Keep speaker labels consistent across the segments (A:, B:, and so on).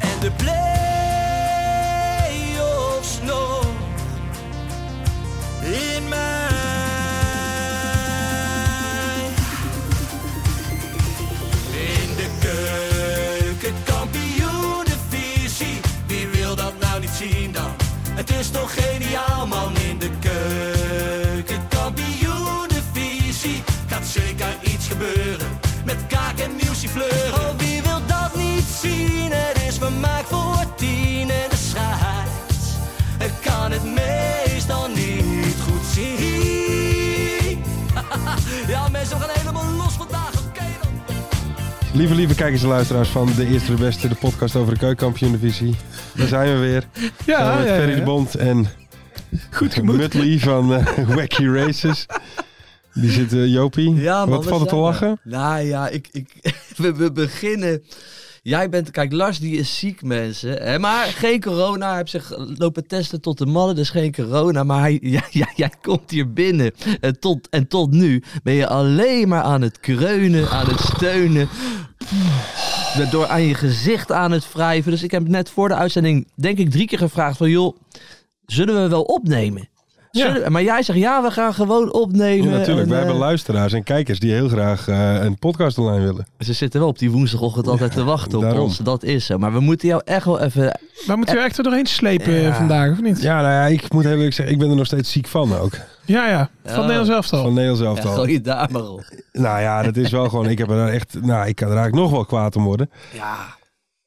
A: En de play-offs nog.
B: In mij.
A: In de keuken, kampioenenvisie. Wie wil dat nou niet zien dan? Het is toch geniaal man in de keuken, kampioenenvisie. Gaat zeker iets gebeuren met kaak en nieuwsje fleuren. Oh, wie wil dat niet zien? Het is vermaakt voor tien en de scheids. Ik kan het meestal niet goed zien. ja mensen, we gaan helemaal los vandaag, oké dan.
C: Lieve, lieve kijkers en luisteraars van De Eerste de Beste, de podcast over de keukenkampioen-divisie. Daar zijn we weer. Samen met Ferry de Bond en
D: Goed gemoed.
C: Muttley van eh, Wacky Races. Die zit eh, Jopie.
D: Ja, man,
C: Wat valt er te
D: zijn we?
C: lachen?
D: Nou ja, ik, ik, we, we beginnen. Jij bent, kijk, Lars die is ziek, mensen. Hè? Maar geen corona. Hij heeft zich lopen testen tot de mannen, dus geen corona. Maar hij, jij, jij, jij komt hier binnen. En tot, en tot nu ben je alleen maar aan het kreunen, aan het steunen. Je bent Door aan je gezicht aan het wrijven. Dus ik heb net voor de uitzending, denk ik, drie keer gevraagd: van joh, zullen we wel opnemen? Zullen we- Maar jij zegt ja, we gaan gewoon
C: Ja,
D: opnemen.
C: natuurlijk.
D: En,
C: Wij
D: eh,
C: hebben luisteraars en kijkers die heel graag eh, een podcast online willen.
D: Ze zitten wel op die woensdagochtend altijd te wachten op
C: daarom.
D: ons. Dat is zo. Maar we moeten jou echt wel even...
E: Maar moeten we echt er doorheen slepen
D: Ja.
E: eh, vandaag, of niet? Ja,
C: Ja, nou ja, ik moet heel eerlijk zeggen, ik ben er nog steeds ziek van ook.
E: ja. Van
D: Ja.
E: Nederland zelf
C: Van
E: al.
C: Nederlands
D: Ja,
C: elftal.
D: gooi je daar maar op.
C: Nou ja, dat is wel gewoon, ik heb er echt, nou, ik kan er eigenlijk nog wel kwaad om worden.
D: Ja,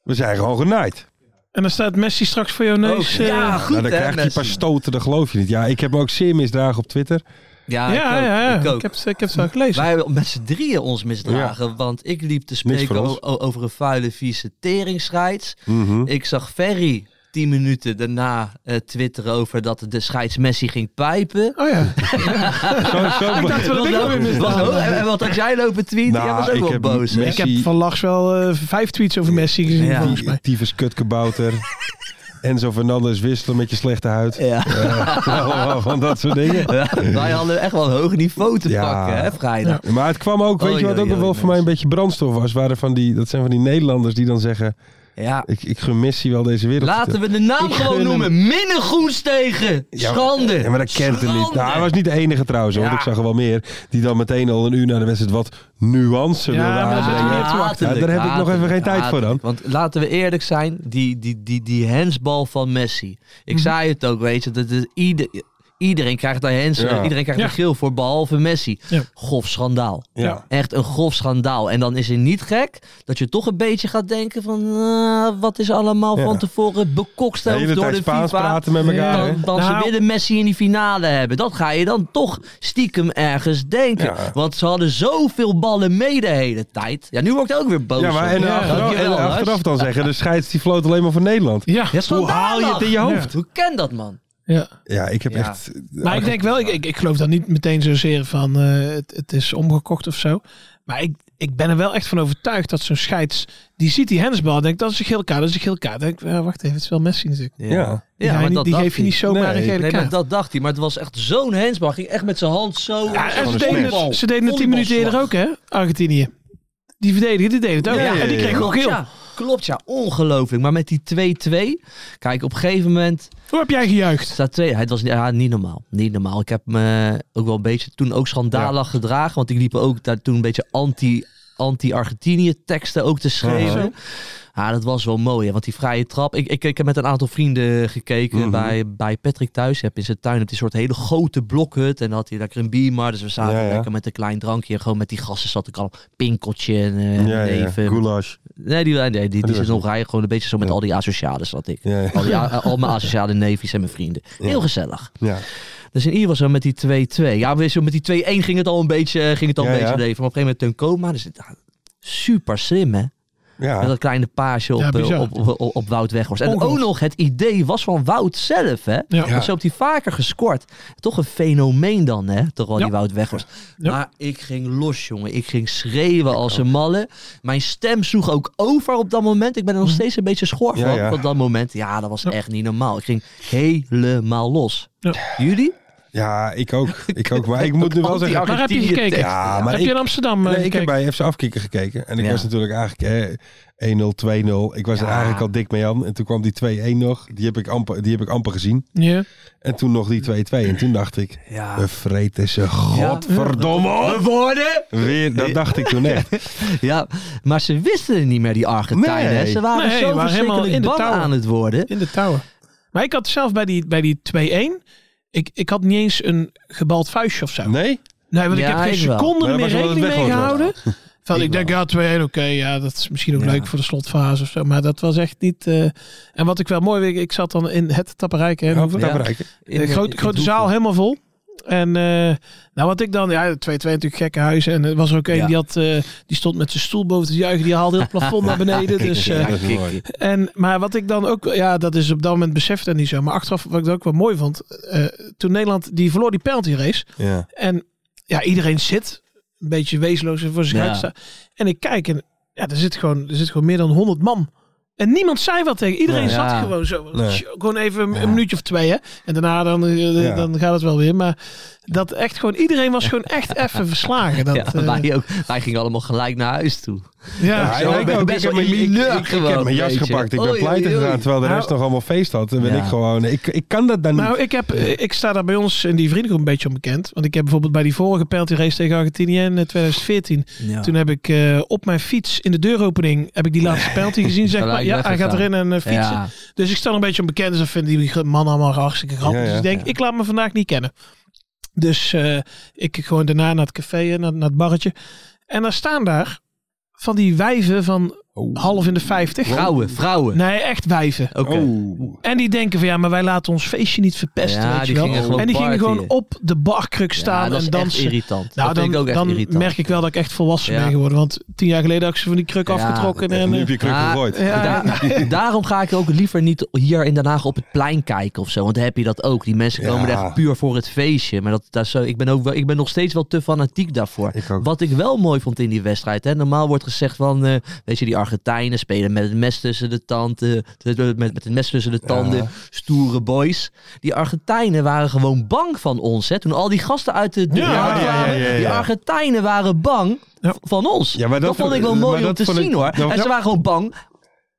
C: We zijn gewoon genaaid.
E: En dan staat Messi straks voor jouw neus. eh,
D: ja
E: ja,
D: goed
C: Nou, dan
D: hè,
C: krijgt hij
D: Messi.
C: pas stoten, dat geloof je niet. Ja, ik heb me ook zeer misdragen op Twitter.
D: Ja,
E: ja,
D: ik ook.
E: ja.
D: Ik
E: Ik,
D: ook.
E: heb, het- ik heb het wel gelezen.
D: Wij hebben met z'n drieën ons misdragen. Want ik liep te
C: voor
D: spreken
C: ons.
D: o- o- over een vuile, vieze teringscheids.
C: Mhm.
D: Ik zag Ferry tien minuten daarna eh, twitteren over dat de scheids Messi ging pijpen.
E: Oh ja.
C: Zo, zo,
E: Ik dacht wel dat ik
D: Wat-
E: ook weer misdragen.
D: wat- Oh, en wat had jij lopen tweeten?
C: Nou,
D: jij was ook
C: ik
D: wel
C: heb
D: boos. hè?
C: Messi-
E: Ik heb van Lars wel eh, vijf tweets over Messi gezien,
D: Ja.
E: volgens mij.
C: Tyfus kutkebouter. Enzo Fernandez wisselen met je slechte huid.
D: Ja.
C: Eh, allemaal van dat soort dingen.
D: Ja, wij hadden echt wel een hoog niveau te
C: Ja.
D: pakken, hè, vrijdag.
C: Maar het kwam ook, weet
D: Oei,
C: je wat
D: oei,
C: ook nog
D: oei,
C: wel voor mij een beetje brandstof was? Waren van die, dat zijn van die Nederlanders die dan zeggen,
D: ja.
C: ik, ik gun Messi wel deze wereld.
D: Laten we de naam
C: Ik
D: gewoon
C: gun
D: noemen. Minnegoens tegen.
C: Ja,
D: Schande.
C: Ja, maar dat kent hij niet.
D: Schande.
C: Nou, hij was niet de enige trouwens, hoor,
D: Ja.
C: want ik zag er wel meer. Die dan meteen al een uur na de wedstrijd wat nuance
E: Ja,
C: wilde
E: maar dat is
C: aanbrengen.
E: natuurlijk niet te wachten.
C: Ja, daar heb ik nog even
D: Hatelijk,
C: geen tijd voor dan.
D: hatelijk. Want laten we eerlijk zijn, die, die, die, die hensbal van Messi. Ik
C: Mhm.
D: zei het ook, weet je. Dat is ieder, iedereen krijgt daar hens,
C: Ja.
D: eh, iedereen krijgt
E: Ja.
D: een geel voor, behalve Messi.
E: Ja.
D: Grof schandaal.
C: Ja.
D: Echt een grof schandaal. En dan is het niet gek dat je toch een beetje gaat denken van... ah, wat is allemaal
C: Ja.
D: van tevoren
C: De
D: bekoksteld
C: hele
D: door
C: tijd
D: de
C: Spaans
D: FIFA.
C: praten met elkaar.
E: Ja.
C: hè?
D: Dan, dan
E: Nou.
D: ze willen Messi in die finale hebben. Dat ga je dan toch stiekem ergens denken.
C: Ja.
D: Want ze hadden zoveel ballen mee de hele tijd. Ja, nu word ik ook weer boos.
C: Ja, maar en, eh,
D: op.
C: achteraf, en
D: dankjewel, Lars.
C: achteraf dan zeggen, de scheids die floot alleen maar voor Nederland.
E: Ja.
D: Ja,
C: Hoe haal je het in je hoofd?
D: Hoe ken dat, man?
E: ja.
C: Ja, ik heb
D: Ja.
C: echt... eh,
E: Maar ik denk wel, ik, ik, ik geloof dat niet meteen zozeer van eh, het, het is omgekocht of zo. Maar ik, ik ben er wel echt van overtuigd dat zo'n scheids, die ziet die hensbal en denkt dat is een geel kaart, dat is een geel kaart. Dan Denk, ik, ja, wacht even, het is wel Messi natuurlijk.
C: Ja. Ja.
E: Die,
D: Ja,
E: ga je
D: maar
E: niet-
D: dat
E: die
D: dacht
E: geef je
D: hij.
E: niet zomaar
C: Nee.
E: een gele
D: Nee, maar
E: kaart.
D: dat dacht hij. Maar het was echt zo'n hensbal. Hij Ging echt met zijn hand zo.
E: Ja, en ze
C: een
E: deden
C: smash.
E: het, ze deden het tien minuten eerder ook, hè? Argentinië. Die verdedigen, die deden het ook.
C: Ja, ja,
E: en die
C: ja,
E: kregen
C: ja.
E: ook
D: Klopt
E: heel.
D: ja, klopt ja, ongelooflijk. Maar met die 2-2, kijk, op een gegeven moment
E: Hoe heb jij gejuicht?
D: Staat twee. Het was niet- ja, niet normaal. Niet normaal. Ik heb me ook wel een beetje toen ook schandalig gedragen. Want ik liep ook daar toen een beetje anti, anti-Argentinië teksten ook te schrijven.
C: Ja.
D: Ja, dat was wel mooi. hè, Want die vrije trap. Ik, ik, ik heb met een aantal vrienden gekeken
C: Mhm.
D: bij, bij Patrick thuis. Je hebt in zijn tuin heb je een soort hele grote blokhut. En dan had hij lekker een biermar. Dus we zaten
C: Ja, ja.
D: lekker met een klein drankje. En gewoon met die gasten zat ik al een pinkeltje en eh,
C: Ja, ja,
D: neven.
C: goulash.
D: Nee, die, nee, die, die,
C: was
D: zit nog
C: goed.
D: rijden. Gewoon een beetje zo met
C: Ja.
D: al die asocialen zat ik.
C: Ja, ja.
D: Al, die, a- al mijn asociale neefjes en mijn vrienden. Heel gezellig.
C: ja.
D: Dus in ieder geval zo met die 2-2. Ja, we- zo met die 2-1 ging het al een beetje, ging het al een
C: Ja, ja.
D: beetje leven. Maar op een gegeven moment Teun Koma, dus, ah, super slim hè.
C: Ja.
D: Met dat kleine paasje op,
E: Ja,
D: eh,
E: bizar.
D: op, op, op- op Wout Weghorst. En ook
E: Ongelooflijk.
D: nog, het idee was van Wout zelf, hè?
E: Ja.
D: Want zo heeft hij vaker gescoord. Toch een fenomeen dan, hè? Toch wel die
E: Ja.
D: Wout Weghorst.
E: Ja.
D: Maar ik ging los, jongen. Ik ging schreeuwen als een malle. Mijn stem sloeg ook over op dat moment. Ik ben er nog steeds een beetje schor
C: Ja,
D: van,
C: ja.
D: op dat moment. Ja, dat was
E: Mhm. Ja.
D: echt niet normaal. Ik ging helemaal los.
E: Ja.
D: Jullie?
C: Ja, ik ook. Ik ook. Maar ik moet nu wel zeggen,
E: Waar heb je gekeken?
C: Ja, maar
E: heb
C: ik-
E: je in Amsterdam eh,
C: Nee, ik heb
E: gekeken?
C: bij FC Afkikken gekeken. En ik
D: Ja.
C: was natuurlijk eigenlijk eh, 1-0, 2-0. Ik was er
D: Ja.
C: eigenlijk al dik mee aan. En toen kwam die 2-1 nog. Die heb, ik amper, die heb ik amper gezien.
E: Ja.
C: En toen nog die 2-2. En toen dacht ik,
D: Ja.
C: we vreten ze godverdomme op.
D: Woorden?
C: Weer, dat dacht ik toen echt.
D: Ja, maar ze wisten het niet meer, die Argentijnen.
C: Nee.
D: hè. Ze waren
E: Nee,
D: zo
E: waren helemaal
D: verschrikkelijk
E: in de
D: bang
E: touwen.
D: aan het worden.
E: In de tower. Maar ik had zelf bij die, bij die 2-1... Ik, ik had niet eens een gebald vuistje of zo. Nee,
C: Nee?
E: want ik
D: Ja,
E: heb geen
D: ik wel.
E: seconde
C: Maar
E: er
C: dat
E: meer
C: was omdat
E: rekening
C: het
E: mee
C: Weghorst
E: gehouden. Van,
D: Ik
E: ik, denk, ja, 2-1, oké. ja, dat is misschien ook leuk voor de slotfase of zo. Maar dat was echt niet... eh, en wat ik wel mooi... weet, Ik zat dan in het tapperijk. Hè,
C: Over
D: Ja.
C: dat bereiken.
D: In
E: de grote,
D: in
E: Eh, grote
D: hoek.
E: zaal helemaal vol. En eh, nou wat ik dan, ja, 2-2 natuurlijk gekke huizen. En er was er ook een
D: Ja.
E: die, had, eh, die stond met zijn stoel boven te juichen. Die haalde heel het plafond naar beneden. Dus, eh,
C: Ja, dat is mooi.
E: en, maar wat ik dan ook, ja, dat is op dat moment beseft en niet zo. Maar achteraf, wat ik dat ook wel mooi vond. eh, toen Nederland, die verloor die penalty race.
C: Ja.
E: En ja, iedereen zit een beetje wezenloos voor zich
D: Ja.
E: uit te staan. En ik kijk en ja, er zit gewoon, er zit gewoon meer dan 100 man. En niemand zei wat tegen. Iedereen
D: Nee.
E: zat
D: Ja.
E: gewoon zo.
C: Nee.
E: Tjo, Gewoon even een, een minuutje of twee, hè. En daarna dan, eh,
C: Ja.
E: dan gaat het wel weer. Maar dat echt gewoon, iedereen was gewoon echt even verslagen. Dat,
D: Ja,
E: eh,
D: wij, ook, wij gingen allemaal gelijk naar huis toe.
C: Ja,
E: ja.
C: ik
D: ik
C: ook.
D: ben
C: Ik
D: best
C: heb
D: wel
C: mijn- ik-
D: mineur
C: ik- ik
D: gewoon,
C: heb mijn jas
D: weet je.
C: gepakt. Ik ben
D: Oei,
C: pleiten
D: oei, oei.
C: gegaan terwijl de rest nog allemaal feest had. Dan ben
D: Ja.
C: ik gewoon... Ik, ik kan dat dan niet.
E: Nou, ik, heb, eh, ik sta daar bij ons in die vriendengroep een beetje onbekend. Want ik heb bijvoorbeeld bij die vorige penalty race tegen Argentinië in eh, 2014. Toen heb ik eh, op mijn fiets in de deuropening heb ik die laatste penalty gezien. Zeg maar.
D: Gelijk
E: Ja, hij gaat
D: weggegaan.
E: erin en eh, fietsen.
D: Ja.
E: Dus ik sta nog een beetje onbekend. Dus dan vinden die man allemaal hartstikke grappig.
C: Ja, ja.
E: Dus ik denk, ik laat me vandaag niet kennen. Dus eh, ik gewoon daarna naar het café, eh, naar, naar het barretje. En daar staan daar van die wijven van half in de vijftig.
D: Vrouwen, vrouwen.
E: Nee, echt wijven.
D: Oké.
C: Oh.
E: En die denken van ja, maar wij laten ons feestje niet verpesten.
D: Ja,
E: weet
D: die
E: je wel.
D: gingen gewoon
E: en die gingen gewoon
D: partyen.
E: op de barkruk
D: Ja,
E: staan
D: dat is
E: en
D: echt
E: dansen.
D: irritant.
E: Nou,
D: dat
E: dan,
D: vind ik ook echt
E: dan
D: irritant.
E: merk ik wel dat ik echt volwassen
D: Ja.
E: ben geworden. Want tien jaar geleden had ik ze van die kruk
D: Ja,
E: afgetrokken. En,
C: Nu
E: eh,
C: heb je kruk
D: Ah,
C: gegooid.
E: ja,
D: Daar- daarom ga ik ook liever niet hier in Den Haag op het plein kijken of zo. Want dan heb je dat ook. Die mensen komen
C: Ja.
D: er echt puur voor het feestje. Maar dat, dat is zo, ik, ben ook wel, ik ben nog steeds wel te fanatiek daarvoor.
C: Ik ook.
D: Wat ik wel mooi vond in die wedstrijd. Hè, normaal wordt gezegd van, eh, weet je, die Argentijnen spelen met het mes tussen de tanden. t- t- Met, met het mes tussen de tanden. Stoere boys. Die Argentijnen waren gewoon bang van ons. Hè. Toen al die gasten uit de
E: Ja,
D: ja,
C: ja, ja, ja, ja.
D: Die Argentijnen waren bang
E: Ja.
D: van ons.
C: Ja, maar
D: dat,
C: dat
D: vond ik wel
C: maar
D: mooi om
C: dat
D: te
C: vond ik-
D: zien hoor.
C: dat-
D: en ze waren gewoon bang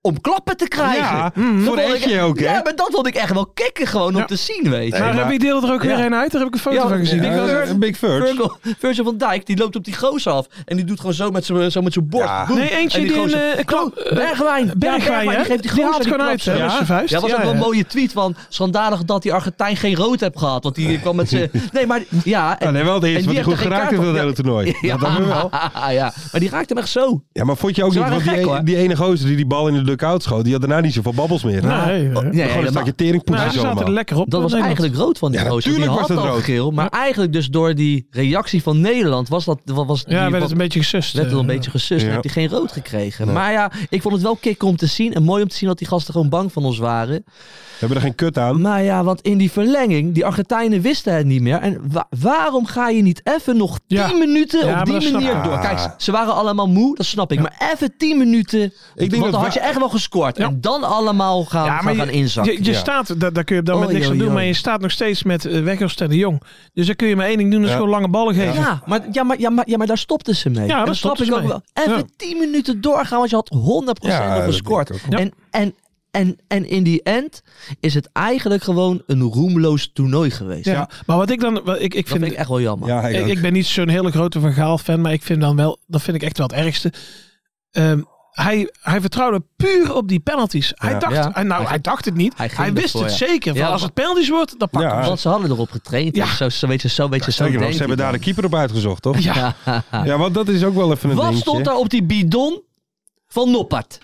D: om klappen te krijgen.
C: Ja,
D: Dat
C: mm, voor
D: vond ik-
C: eentje ook, hè?
D: Ja, maar dat wilde ik echt wel kicken gewoon om
E: Ja.
D: te zien, weet je.
E: maar heb ik deel er ook
D: Ja.
E: weer een uit? Daar heb ik een foto
D: Ja,
E: van gezien.
D: Big
C: Ja,
D: Bird.
C: een Big Furge.
D: Virgil, Virgil van Dijk, die loopt op die goos af. En die doet gewoon zo met zijn zo met zijn bord.
C: Ja.
D: Boem.
E: Nee, eentje
D: En
E: die
D: gozer-
E: een, eh, klap-
D: Oh, Bergwijn. Ja,
E: Bergwijn, hè?
D: die geeft die
E: Die
D: gozer
E: haalt gewoon
D: klap
E: uit, hè,
D: zo.
E: met zijn vuist.
D: Ja, was
E: Ja,
D: ook wel een
E: ja.
D: mooie tweet van... Schandalig dat die Argentijn geen rood heeft gehad. Want die kwam met zijn... Nee, maar ja...
C: Ah, nee, wel de
D: en die
C: eerste, want die
D: heeft
C: goed
D: er geen
C: geraakt
D: kaart
C: heeft
D: op.
C: dat
D: Ja.
C: hele toernooi.
D: Ja,
C: Dat dan weer wel.
D: ja, maar die raakte hem echt zo.
C: Ja, maar vond je ook
D: Ze
C: niet,
D: waren
C: want die,
D: gek,
C: e-
D: hoor.
C: die ene gozer die die bal in de dugout schoot, die had daarna niet zoveel babbels meer.
E: Nou, nee, eh,
D: Nee,
C: Gewoon een
D: helemaal-
C: stukje teringpoesje
E: nou, ze zaten er
C: zomaar.
E: lekker op.
D: Dat was
E: Nederland.
D: eigenlijk rood van die
C: Ja,
D: gozer. Die
C: natuurlijk
D: had
C: was dat
D: al
C: rood.
D: geel. Maar eigenlijk dus door die reactie van Nederland was dat... Was die,
E: Ja, werd
D: was-
E: het een beetje gesust.
D: werd wel een
E: eh.
D: beetje gesust.
C: Ja.
D: Dan heb je geen rood gekregen. Maar ja, ik vond het wel kick om te zien. En mooi om te zien dat die gasten gewoon bang van ons waren.
C: We hebben er geen kut aan.
D: Maar ja, want in die verlenging, die Argentijnen wisten het niet meer. En wa- waarom ga je niet even nog 10
E: Ja.
D: minuten
E: Ja,
D: op
E: maar
D: die
E: dat snap
D: manier
C: ik.
D: door? Kijk, ze waren allemaal moe, dat snap ik. Maar even 10 minuten,
C: denk
D: want
C: dat
D: dan had
C: wa-
D: je echt wel gescoord.
E: Ja.
D: En dan allemaal gaan,
E: Ja,
D: gaan,
E: maar
D: gaan
E: je-
D: inzakken.
E: Je, je
C: Ja.
E: staat, daar, daar kun je op dat moment
D: Oei,
E: niks aan
D: oei,
E: doen, maar
D: oei.
E: je staat nog steeds met eh, Weghorst en de Jong. Dus dan kun je maar één ding doen, dat is
C: Ja.
E: gewoon lange ballen geven.
D: Ja, maar, ja, maar, ja, maar, ja, maar daar stopten ze mee.
E: Ja,
D: En
E: daar
D: dat snap
E: stopten
D: ik
E: ze
D: ook
E: mee.
D: wel. Even
E: Ja.
D: 10 minuten doorgaan, want je had 100%
C: Ja,
D: nog
C: dat
D: gescoord.
C: denk ik
E: ook.
D: En, en, en, en in die end is het eigenlijk gewoon een roemloos toernooi geweest.
E: Ja. Maar wat ik dan, wat ik, ik
D: Dat vind
E: vind,
D: ik echt wel jammer.
C: Ja, ik
E: ik,
C: ook.
E: ik ben niet zo'n hele grote Van Gaal fan, maar ik vind dan wel, dat vind ik echt wel het ergste. Ehm, hij, hij vertrouwde puur op die penalties. Hij,
C: Ja.
E: dacht,
D: Ja.
E: hij- nou, hij,
D: Hij-
E: dacht het niet.
D: hij
E: Hij,
D: ging
E: wist
D: ervoor,
E: het
D: ja.
E: zeker.
D: Ja,
E: Van, als
D: maar-
E: het penalties wordt, dan pakken
C: Ja.
E: we
D: Want ze hadden erop getraind. dus
E: Ja.
D: Zo, zo weet je, zo weet je, zo
C: Zeker nog,
D: denkt
C: ze hebben
D: hij
C: daar de
D: dan.
C: keeper op uitgezocht, toch?
E: Ja.
C: Ja, want dat is ook wel even een
D: Wat
C: dingetje.
D: stond daar op die bidon van Noppert?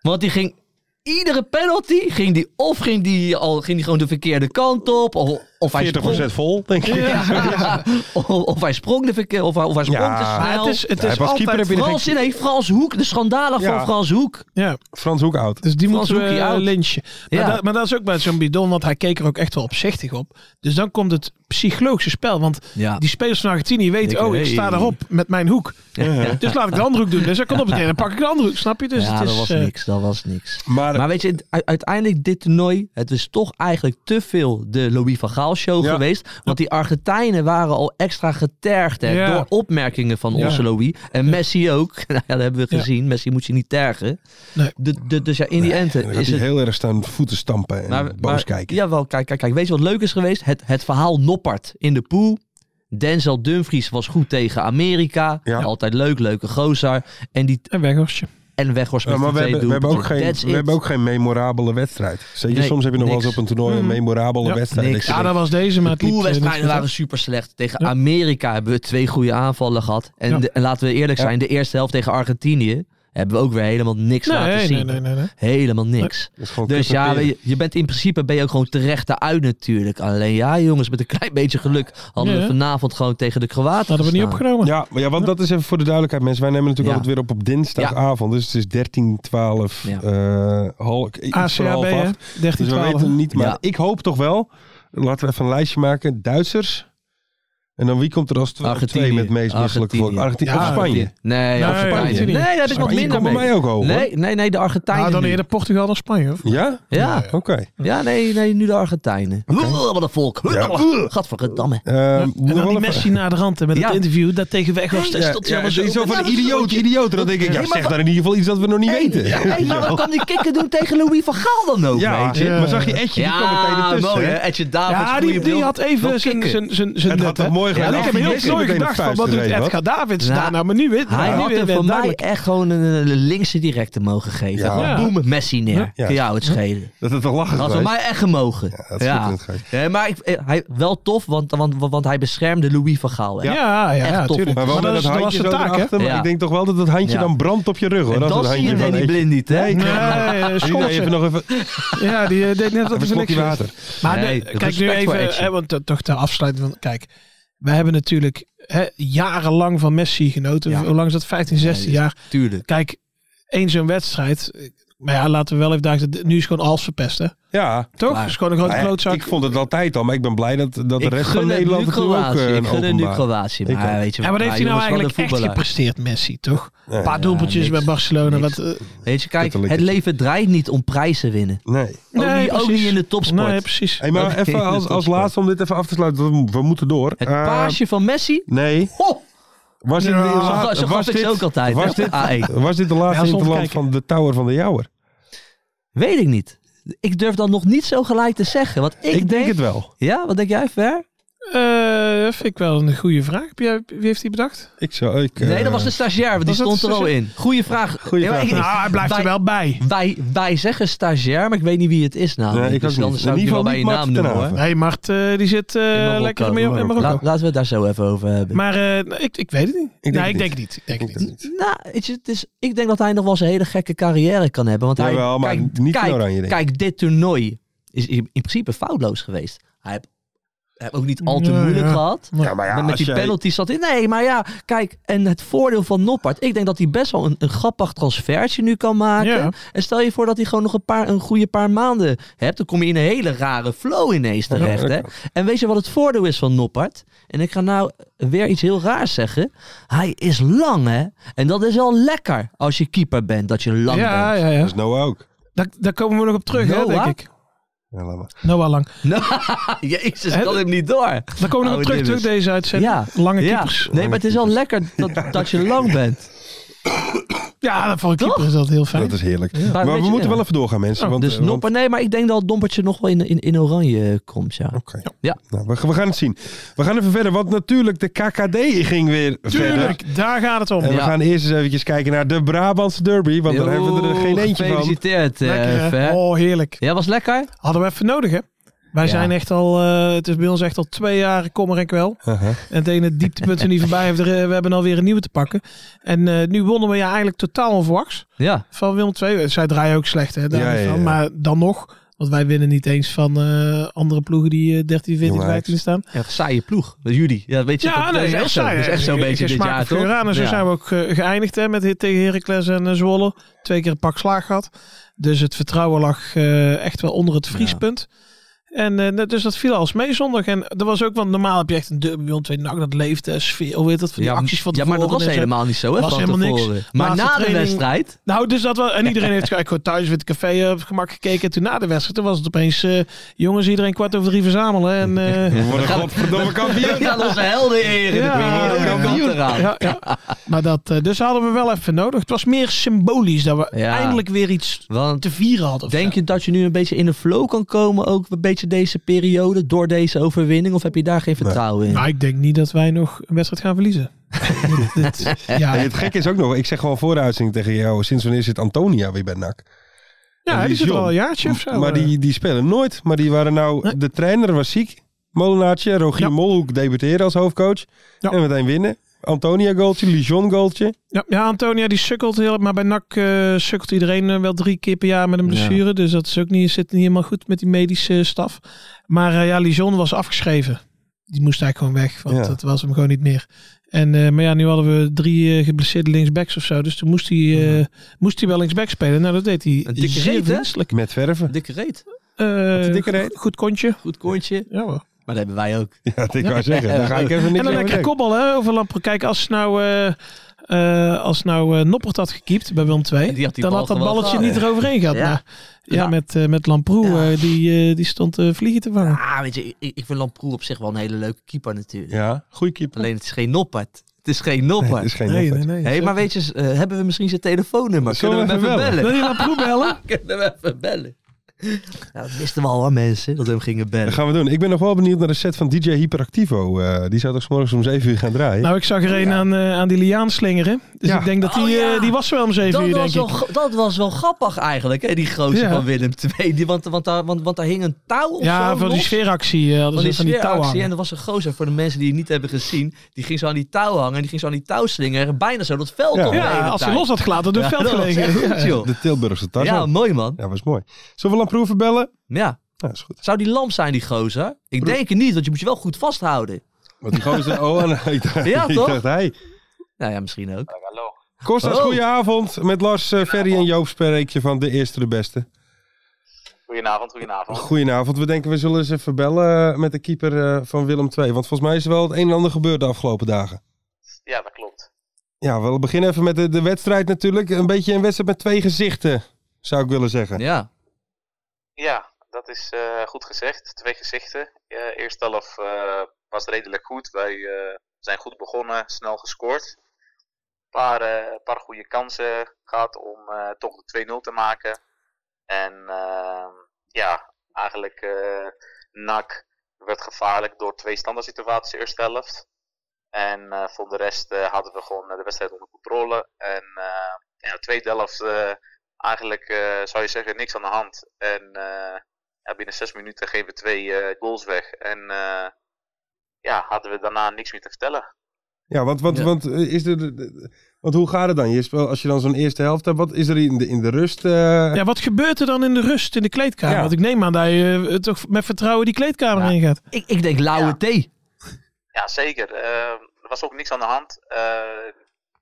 D: Want die ging... Iedere penalty ging die of ging die, al, ging die gewoon de verkeerde kant op. Of, of hij
C: 40%
D: sprong,
C: vol, denk ik. Ja,
D: of, of hij sprong de verkeer, of, hij- of hij sprong
C: Ja.
D: te
E: Maar
D: snel.
E: het is, het
C: Hij
E: is
C: was keeper,
E: altijd...
C: heb je de-
D: Frans, nee, Frans Hoek, de schandalig
C: Ja.
D: van Frans Hoek.
E: Ja,
C: Frans Hoek oud.
E: dus die
D: Frans
E: moeten we
D: Hoekie
E: eh,
D: out.
E: lynchen. Maar,
D: Ja.
E: dat, maar dat is ook bij zo'n bidon, want hij keek er ook echt wel opzichtig op. Dus dan komt het psychologische spel, want
D: Ja.
E: die spelers van Argentinië weten,
D: Denken,
E: oh, ik
D: hey.
E: sta erop met mijn hoek. Dus laat ik de andere hoek doen. Dus hij komt op het neer, dan pak ik de andere hoek, snap je? Dus
D: ja,
E: het is,
D: dat was
E: eh,
D: niks, dat was niks.
C: Maar,
D: Maar weet je, u- uiteindelijk dit toernooi, het is toch eigenlijk te veel de Louis van Gaal show
C: Ja.
D: geweest. Want die Argentijnen waren al extra getergd hè,
E: Ja.
D: door opmerkingen van
E: Ja.
D: onze Louis. En Messi ook. Nou ja, dat hebben we
E: Ja.
D: gezien. Messi moet je niet tergen.
E: Nee.
D: De, de, dus ja, in die enten
C: dan gaat
D: is
C: hij
D: het...
C: heel erg staan voeten stampen en
D: maar-
C: boos
D: Nou, maar-
C: kijken.
D: Jawel, kijk, kijk, kijk. Weet je wat leuk is geweest? Het, het verhaal Noppert in de pool. Denzel Dumfries was goed tegen Amerika.
C: Ja.
D: Altijd leuk, leuke gozer. En, die,
E: een weghorstje.
D: en Weghorst
C: Ja,
D: met
C: maar we
D: die twee
C: hebben, we, hebben ook
D: doelpunten.
C: geen,
D: That's
C: we
D: it.
C: hebben ook geen memorabele wedstrijd. Zeker,
D: Nee,
C: soms heb je nog wel eens
D: niks. Mm-hmm.
C: op een toernooi een
E: Mm.
C: memorabele
E: Ja,
C: wedstrijd.
D: niks.
C: Dat je
E: Ja, dat
C: denkt,
E: was deze, maar het
D: De
E: liep, eh, niet
D: poolwedstrijden
E: goed
D: waren
E: af.
D: super slecht. Tegen
E: Ja.
D: Amerika hebben we twee goede aanvallen gehad. En,
E: Ja.
D: de- en laten we eerlijk
C: Ja.
D: zijn, de eerste helft tegen Argentinië hebben we ook weer helemaal niks laten
E: Nee,
D: zien.
E: nee, nee, nee, nee.
D: Helemaal niks.
C: dat is gewoon
D: Dus
C: kut en
D: ja,
C: peren.
D: je, je bent in principe ben je ook gewoon terecht uit natuurlijk. Alleen ja, jongens, met een klein beetje geluk hadden
E: Ja.
D: we vanavond gewoon tegen de Kroaten.
E: Dat hadden we niet
D: gestaan.
E: opgenomen.
C: Ja, maar ja, want dat is even voor de duidelijkheid, mensen. Wij nemen natuurlijk
D: Ja.
C: altijd weer op op dinsdagavond. Dus het is 13, 12,
D: Ja.
C: eh, halk- iets voor half
E: ACAB, hè?
C: acht.
E: 13,
C: Dus we
E: 12.
C: weten niet, maar
D: Ja.
C: ik hoop toch wel. Laten we even een lijstje maken. Duitsers. En dan wie komt er als tw- twee
D: Argentinië.
C: met het meest misselijke volk?
D: Argentinië.
C: Argentinië. of Spanje.
D: Nee,
E: Nee,
D: Argentinië.
E: Argentinië.
D: Nee, daar heb ik wat
C: Spanje
D: minder
C: komt bij
D: mee.
C: mij ook hoog. hoor.
D: Nee, nee, nee, de Argentijnen.
E: Ah, dan
D: nu.
E: eerder Portugal dan Spanje, hoor.
C: Ja? Ah,
D: Ja,
C: Oké.
D: ja nee, nee, nu de Argentijnen. Oeh, Wat een volk.
C: Ja.
D: Oeh, Gadverdamme.
C: Ehm, nog wel
E: En dan die
C: even-
E: Messi naar de rand hè, met
D: Ja.
E: het interview dat tegen Weghorst.
C: Ja,
E: en stond hij
C: ja,
E: allemaal zo.
C: zo van
D: Ja,
C: idioot, idioot. Dan denk ik, ja, zeg daar in ieder geval iets dat we nog niet weten.
D: Ja, hey, maar wat kan die kikker doen tegen Louis van Gaal dan ook,
C: Ja,
D: weet je?
C: maar zag je Etje, die kwam meteen ertussen.
D: mooi
C: hè?
D: hè. Etje Davids,
E: Ja,
D: goeie
E: die, die
D: bril.
E: had
D: Wel
E: even zijn
D: kicken.
E: zijn zijn zijn
C: Het
E: net,
C: had dat
E: hè.
C: mooi
E: Ja,
C: gedaan.
E: ik heb
C: Als hij
E: heel
C: meteen
E: nooit
C: meteen
E: gedacht
C: een
E: van, wat
C: vuist
E: doet
C: erin,
E: Edgar Davids
D: Nou,
E: daar nou? Maar nu weet
D: Hij
E: nou,
D: had
E: nu weer
D: hem
E: weer
D: voor mij
E: duidelijk.
D: echt gewoon een, een linkse directe mogen geven.
C: Ja.
D: Gewoon
E: Ja.
D: boem, Messi neer.
E: Ja.
D: Kun jou het schelen.
C: Dat het een lachen
D: Dat had
C: was.
D: voor mij echt gemogen. Ja,
C: dat is goed in het geest.
D: Nee, maar ik, eh, hij, wel tof, want, want, want, want hij beschermde Louis van Gaal. Hè?
E: Ja, ja, ja,
D: Echt tof.
E: tuurlijk.
C: Maar wel
E: Maar
C: met
E: dat
C: dat
E: is- dat
C: handje
E: was de
C: zo
E: taak, hè?
C: erachter. Maar
D: Ja.
C: ik denk toch wel dat dat handje
D: Ja.
C: dan brandt op je rug, hoor.
D: en
C: Als
D: dat
C: het
D: zie je
C: handje van
D: Danny
C: Etje-
D: Blind niet, hè?
C: Nee,
E: Nee, eh,
C: Zie je
E: Schotse.
C: even nog even
E: Ja, die eh, deed net dat
C: een
E: er niks
C: slokje
E: was.
C: water.
E: Maar
D: Nee,
E: de- kijk nu
D: respect voor
E: even,
D: Edje.
E: hè, want dat- toch ter afsluiting van, kijk, wij hebben natuurlijk hè, jarenlang van Messi genoten.
D: Ja.
E: Hoe lang is dat? 15, 16 jaar.
D: Tuurlijk.
E: Kijk, één zo'n wedstrijd. eh, Maar ja, laten we wel even duidelijk. Nu is gewoon alles verpest, hè?
C: Ja.
E: Toch?
D: Maar-
E: is gewoon een grote
C: Nou ja,
E: klootzak.
C: Ik vond het altijd al, maar ik ben blij dat, dat de
D: Ik
C: rest van
D: gun het
C: Nederland
D: nu
C: het nu ook
D: Kroatië.
C: eh,
D: Ik
C: een
D: gun het nu
C: openbaar.
D: Kroatië.
C: Ik
D: Maar
C: ook.
D: weet je,
E: en wat heeft hij nou
D: jongens, wat een
E: eigenlijk echt
D: voetballer.
E: gepresteerd, Messi, toch?
C: Nee.
E: Een paar doelpuntjes
D: niks.
E: bij Barcelona.
D: Niks.
E: Wat, eh,
D: Weet je, kijk,
C: Kuttelijke.
D: het leven draait niet om prijzen winnen.
C: Nee.
D: ook, niet, ook
E: precies.
D: niet in de topsport.
E: Nee, precies.
C: Hey, maar
D: Oké,
C: even
D: dat
C: als,
D: is
C: als
D: wel.
C: laatste om dit even af te sluiten, want we, we moeten door.
D: het
C: Eh,
D: paasje van Messi?
C: Nee.
D: Ho!
C: Was dit,
E: Ja.
C: de
E: Zo
D: Zo,
C: laat-
D: ga- zo
C: was
D: gaf ik ze
C: dit-
D: ook altijd.
C: was
D: hè, Ah.
C: dit-
D: op de A1.
C: Was dit de
E: Ja,
C: laatste
E: stond te
C: interland
E: kijken.
C: van de Tower van de Jouwer?
D: Weet ik niet. Ik durf dan nog niet zo gelijk te zeggen. Want ik,
C: Ik, denk, het wel.
D: Ja, wat denk jij, Ver?
E: Eh, vind ik wel een goede vraag. Heb jij, wie heeft die bedacht?
C: Ik zou, ik, eh,
D: nee, dat was de stagiair, want die
E: was dat
D: stond
E: de
D: er al in. Goeie vraag.
C: Goeie
D: Ja, maar
C: vraag.
D: ik-
E: Nou, hij blijft
D: wij,
E: er wel bij.
D: Wij, wij zeggen stagiair, maar ik weet niet wie het is nou.
C: Nee, ik ook
D: dus
C: niet.
D: anders
C: In
D: zou ik
C: ieder
D: nu wel
C: geval
D: bij je
C: niet
D: naam
C: Mats ten
D: noemen hoor.
C: Haven.
E: hey, Mart, eh, die zit eh,
D: Marokko,
E: lekker mee op in
C: Marokko.
E: Marokko.
D: La- laten we het daar zo even over hebben.
E: Maar eh, ik, ik weet het niet.
C: denk
E: nee,
C: het
E: ik denk
C: niet.
E: het niet. Ik denk
C: Ik
E: het niet.
C: denk het niet.
D: Nou, weet je, het is, ik denk dat hij nog wel eens een hele gekke carrière kan hebben. Want hij,
C: Jawel, maar
D: kijk,
C: niet in
D: kijk,
C: Oranje, denk ik.
D: kijk, dit toernooi is in in principe foutloos geweest. Hij heeft, hij heeft ook niet al te
E: Ja,
D: moeilijk
E: ja.
D: gehad.
C: Ja, maar ja,
D: met
C: als
D: met die
C: jij-
D: penalty zat in. Nee, maar ja, kijk, en het voordeel van Noppert. Ik denk dat hij best wel een, een grappig transfertje nu kan maken.
E: Ja.
D: En stel je voor dat hij gewoon nog een, paar, een goede paar maanden hebt. Dan kom je in een hele rare flow ineens terecht.
C: dat
D: hè? En weet je wat het voordeel is van Noppert? En ik ga nou weer iets heel raars zeggen. Hij is lang, hè? En dat is wel lekker als je keeper bent, dat je lang
E: Ja,
D: bent.
E: ja, ja.
C: Dat is Noah ook.
E: Daar, daar komen we nog op terug, hè, denk
D: Noah?
E: ik.
C: Ja, laat maar.
E: Noah Lang.
D: Jezus,
E: Hè?
D: ik kan hem niet door.
E: Daar komen we nog op
D: Oude
E: terug, terug
D: dimmers.
E: deze uitzending.
D: Ja.
E: Lange
D: Ja.
E: keepers. Ja,
D: Nee, maar het is wel lekker dat, dat je lang bent.
E: voor een keeper is dat heel fijn.
C: Dat is heerlijk. Maar,
D: weet
C: we
D: je, ja.
C: moeten wel even doorgaan, mensen. want,
D: dus
C: eh, want-
D: Noppert, nee, maar ik denk dat Dompertje nog wel in, in, in oranje eh, komt, ja.
C: Oké.
D: Ja.
C: Nou, we, we gaan het zien. We gaan even verder, want natuurlijk de KKD ging weer verder.
E: Tuurlijk, daar gaat het om.
C: En we
D: Ja.
C: gaan eerst eens eventjes kijken naar de Brabantse derby, want daar hebben we er
D: Yo,
C: geen eentje van.
D: Gefeliciteerd, eh,
E: Lekker, hè?
D: Fer.
E: oh, heerlijk.
D: Ja, was lekker?
E: Hadden we even nodig, hè? Wij
D: Ja.
E: zijn echt al, eh, het is bij ons echt al twee jaar kommer en kwel.
C: Aha.
E: En het ene dieptepunt er niet voorbij heeft, er, eh, we hebben alweer een nieuwe te pakken. En eh, nu wonnen we ja eigenlijk totaal onverwachts
D: Ja.
E: van Willem II. Zij Eh, draaien ook slecht, hè? Daar
C: Ja,
E: niet
C: ja,
E: van.
C: ja.
E: Maar dan nog, Want wij winnen niet eens van eh, andere ploegen die eh 13, 14,
C: Jonge
E: 15 staan.
D: Ja, saaie ploeg. Dat is jullie. Ja, weet je, dat,
E: nee,
D: dat is
E: heel
D: echt zo.
E: saai
D: Dat is echt zo'n
E: eigenlijk.
D: beetje
E: Geen
D: dit
E: smaak
D: jaar,
E: voor
D: toch?
E: Fioranen. Zo
D: Ja.
E: zijn we ook eh, geëindigd hè, met, tegen Heracles en eh, Zwolle. Twee keer een pak slaag gehad. Dus het vertrouwen lag eh, echt wel onder het vriespunt. En eh, net- dus dat viel alles mee zondag. En er was ook, want normaal heb je echt een derby bij ons twee nak, dat leefde, eh, sfeer, hoe heet dat, van die acties van
D: ja, maar dat
E: tevoren
D: was
E: en zo.
D: helemaal niet zo, hè?
E: Was
D: van
E: helemaal niks.
D: tevoren. Maar
E: Laatste
D: na de
E: training-
D: wedstrijd,
E: Nou, dus dat wel. En iedereen heeft gelijk gewoon thuis weer het café eh, op het gemak gekeken. En toen na de wedstrijd, toen was het opeens, eh, jongens, iedereen kwart over drie verzamelen. En, eh,
C: We worden godverdomme kampioen.
D: we gaan onze helden eren.
E: Ja,
D: Ja,
E: ja,
D: de kant eraan.
E: Ja, ja. Maar dat, eh, dus hadden we wel even nodig. Het was meer symbolisch dat we
D: Ja.
E: eindelijk weer iets
D: Want
E: te vieren hadden. of
D: Denk
E: zo.
D: je dat je nu een beetje in de flow kan komen, ook een beetje deze periode, door deze overwinning? Of heb je daar geen vertrouwen in?
E: Nou, ik denk niet dat wij nog een wedstrijd gaan verliezen. Dit- dit- ja,
C: En het gekke is ook nog, ik zeg wel voor de uitzending tegen jou, sinds wanneer zit Antonia weer bij NAC?
E: ja, die,
C: die
E: zit er
C: John.
E: al een jaartje of zo.
C: maar
E: eh.
C: die, die spelen nooit. Maar die waren nou,
E: Nee.
C: de trainer was ziek. Molenaartje, Rogier
E: Ja.
C: Molhoek debuteren als hoofdcoach.
E: Ja.
C: En meteen winnen. Antonia goaltje, Lijon goaltje.
E: ja, ja, Antonia die sukkelt heel, maar bij NAC eh, sukkelt iedereen eh, wel drie keer per jaar met een blessure. Dus dat is ook niet, zit niet helemaal goed met die medische eh, staf. Maar eh, ja, Lijon was afgeschreven. Die moest eigenlijk gewoon weg, want
C: Ja.
E: dat was hem gewoon niet meer. En, eh, maar ja, nu hadden we drie eh, geblesseerde linksbacks of zo. Dus toen moest hij, eh, moest hij wel linksback spelen. Nou, dat deed hij.
D: Een dikke
E: zeer
D: reet, hè?
E: verdienstelijk.
C: Met verven.
D: Dikke reet.
E: Eh,
C: een dikke reet.
E: Goed kontje.
D: Goed kontje.
E: Ja hoor.
D: Maar dat hebben wij ook.
C: Ja, dat ik wou zeggen. Daar ga ik even niks
E: En dan
C: over
E: lekker
C: zeggen.
E: kobbel hè, over Lampre. Kijk, als nou, eh eh, als nou eh, Noppert had gekiept bij Willem
D: Die
E: 2,
D: had die
E: dan
D: bal
E: had dat
D: gewoon
E: balletje
D: gehad.
E: niet eroverheen gehad.
D: Ja.
E: Maar, ja,
D: Ja.
E: met, eh, met Lamproe, eh, die, eh, die stond eh, vliegen te vangen.
D: Ah, weet je, ik, ik vind Lamproe op zich wel een hele leuke keeper natuurlijk.
C: Ja, goeie keeper.
D: Alleen het is geen noppert. Het is geen noppert.
C: Het is geen
E: Nee,
C: noppert.
E: nee, nee.
D: Hé, hey, maar weet je, eh, hebben we misschien zijn telefoonnummer?
C: Zullen
D: Kunnen we hem
C: we
D: even
C: even
D: bellen?
E: Wil je Lamproe bellen?
D: Kunnen we even bellen? Nou, dat wisten we al, hè, mensen, dat we hem gingen
C: Dat
D: bellen.
C: gaan we doen. Ik ben nog wel benieuwd naar de set van DJ Hyperactivo. Eh, die zou toch 's morgens om 7 uur gaan draaien?
E: Nou, ik zag er een aan, eh, aan die liaan slingeren. Dus
C: Ja.
E: ik denk dat die,
D: Oh, ja.
E: eh, die was wel om zeven
D: Dat
E: uur,
D: was,
E: denk
D: wel,
E: ik.
D: gra- dat was wel grappig eigenlijk, hè, die gozer
E: Ja.
D: van Willem II. Die, want, want, daar, want, want daar hing een touw of zo
E: Ja, van die
D: los.
E: sfeeractie eh, hadden
D: Van
E: ze
D: die
E: van die touw
D: sfeeractie. En
E: hangen.
D: er was een gozer, voor de mensen die het niet hebben gezien, die ging zo aan die touw hangen en die ging zo aan die touw slingeren. En bijna zo dat veld
C: Ja.
D: op de
E: Ja,
D: ene
E: als ze
D: tijd.
E: los had gelaten, door het
D: Ja,
E: veld
D: dat was
E: gelegen.
D: echt goed, joh.
C: eh, De Tilburgse tas.
D: Ja,
C: Ja,
D: mooi man.
C: was mooi. Zullen we Lamproeven bellen?
D: Ja.
C: Nou, is goed.
D: Zou die lamp zijn, die gozer? Ik denk het niet, want je moet je wel goed vasthouden.
C: Want die gozer... Oh, en, ik dacht,
D: Ja,
C: ik
D: toch?
C: dacht hij.
D: Nou ja, misschien ook.
C: Kostas,
D: Oh.
C: goedenavond. Met Lars, eh, Ferry en Joop spreekje van De Eerste de Beste.
F: Goedenavond, goedenavond.
C: Goedenavond. We denken we zullen eens even bellen eh, met de keeper eh, van Willem II. Want volgens mij is er wel het een en ander gebeurd de afgelopen dagen.
F: Ja, dat klopt.
C: Ja, we beginnen even met de, de wedstrijd natuurlijk. Een beetje een wedstrijd met twee gezichten, zou ik willen zeggen.
D: Ja.
F: Ja, dat is eh, goed gezegd. Twee gezichten. Eh eerste helft eh, was redelijk goed. Wij eh, zijn goed begonnen, snel gescoord. Een paar, eh, een paar goede kansen gehad om eh, toch de 2-0 te maken. En eh, ja, eigenlijk eh NAC werd gevaarlijk door twee standaard situaties de eerste helft. En eh, voor de rest eh, hadden we gewoon eh, de wedstrijd onder controle. En eh ja, de tweede helft eh, eigenlijk eh, zou je zeggen niks aan de hand. En eh, ja, binnen zes minuten geven we twee eh, goals weg. En eh, ja, hadden we daarna niks meer te vertellen.
C: Ja, want, want,
D: Ja.
C: want, eh, is er, want hoe gaat het dan? Je speel, als je dan zo'n eerste helft hebt, wat is er in de, in de rust? eh,
E: Ja, wat gebeurt er dan in de rust in de kleedkamer?
C: Ja.
E: Want ik neem aan dat je eh, toch met vertrouwen die kleedkamer
F: Ja.
E: in gaat.
D: Ik, ik denk lauwe
F: Ja.
D: thee.
F: Ja, zeker. Eh, er was ook niks aan de hand. Eh,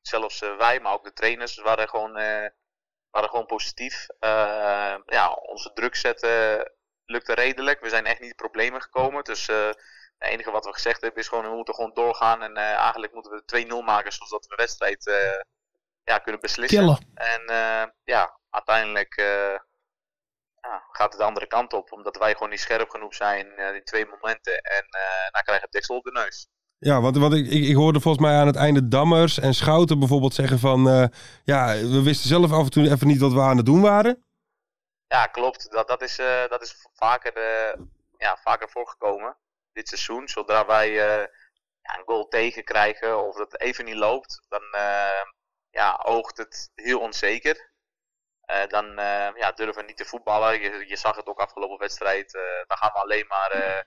F: zelfs eh, wij, maar ook de trainers waren gewoon, eh, waren gewoon positief. Eh, ja, onze druk zetten lukte redelijk. We zijn echt niet in problemen gekomen. Dus eh, het enige wat we gezegd hebben is gewoon, we moeten gewoon doorgaan. En eh, eigenlijk moeten we 2-0 maken, zodat we de wedstrijd eh, ja, kunnen beslissen.
E: Killen.
F: En eh, ja, uiteindelijk eh, ja, gaat het de andere kant op. Omdat wij gewoon niet scherp genoeg zijn eh, in twee momenten. En eh dan krijg je deksel op de neus.
C: Ja, want, want ik, ik, ik hoorde volgens mij aan het einde Dammers en Schouten bijvoorbeeld zeggen van... eh, ja, we wisten zelf af en toe even niet wat we aan het doen waren.
F: Ja, klopt. Dat, dat, is, eh, dat is vaker, eh, ja, vaker voorgekomen dit seizoen. Zodra wij eh, ja, een goal tegenkrijgen of dat het even niet loopt, dan eh, ja, oogt het heel onzeker. Eh, dan eh, ja, durven we niet te voetballen. Je, je zag het ook afgelopen wedstrijd. eh, dan gaan we alleen maar eh,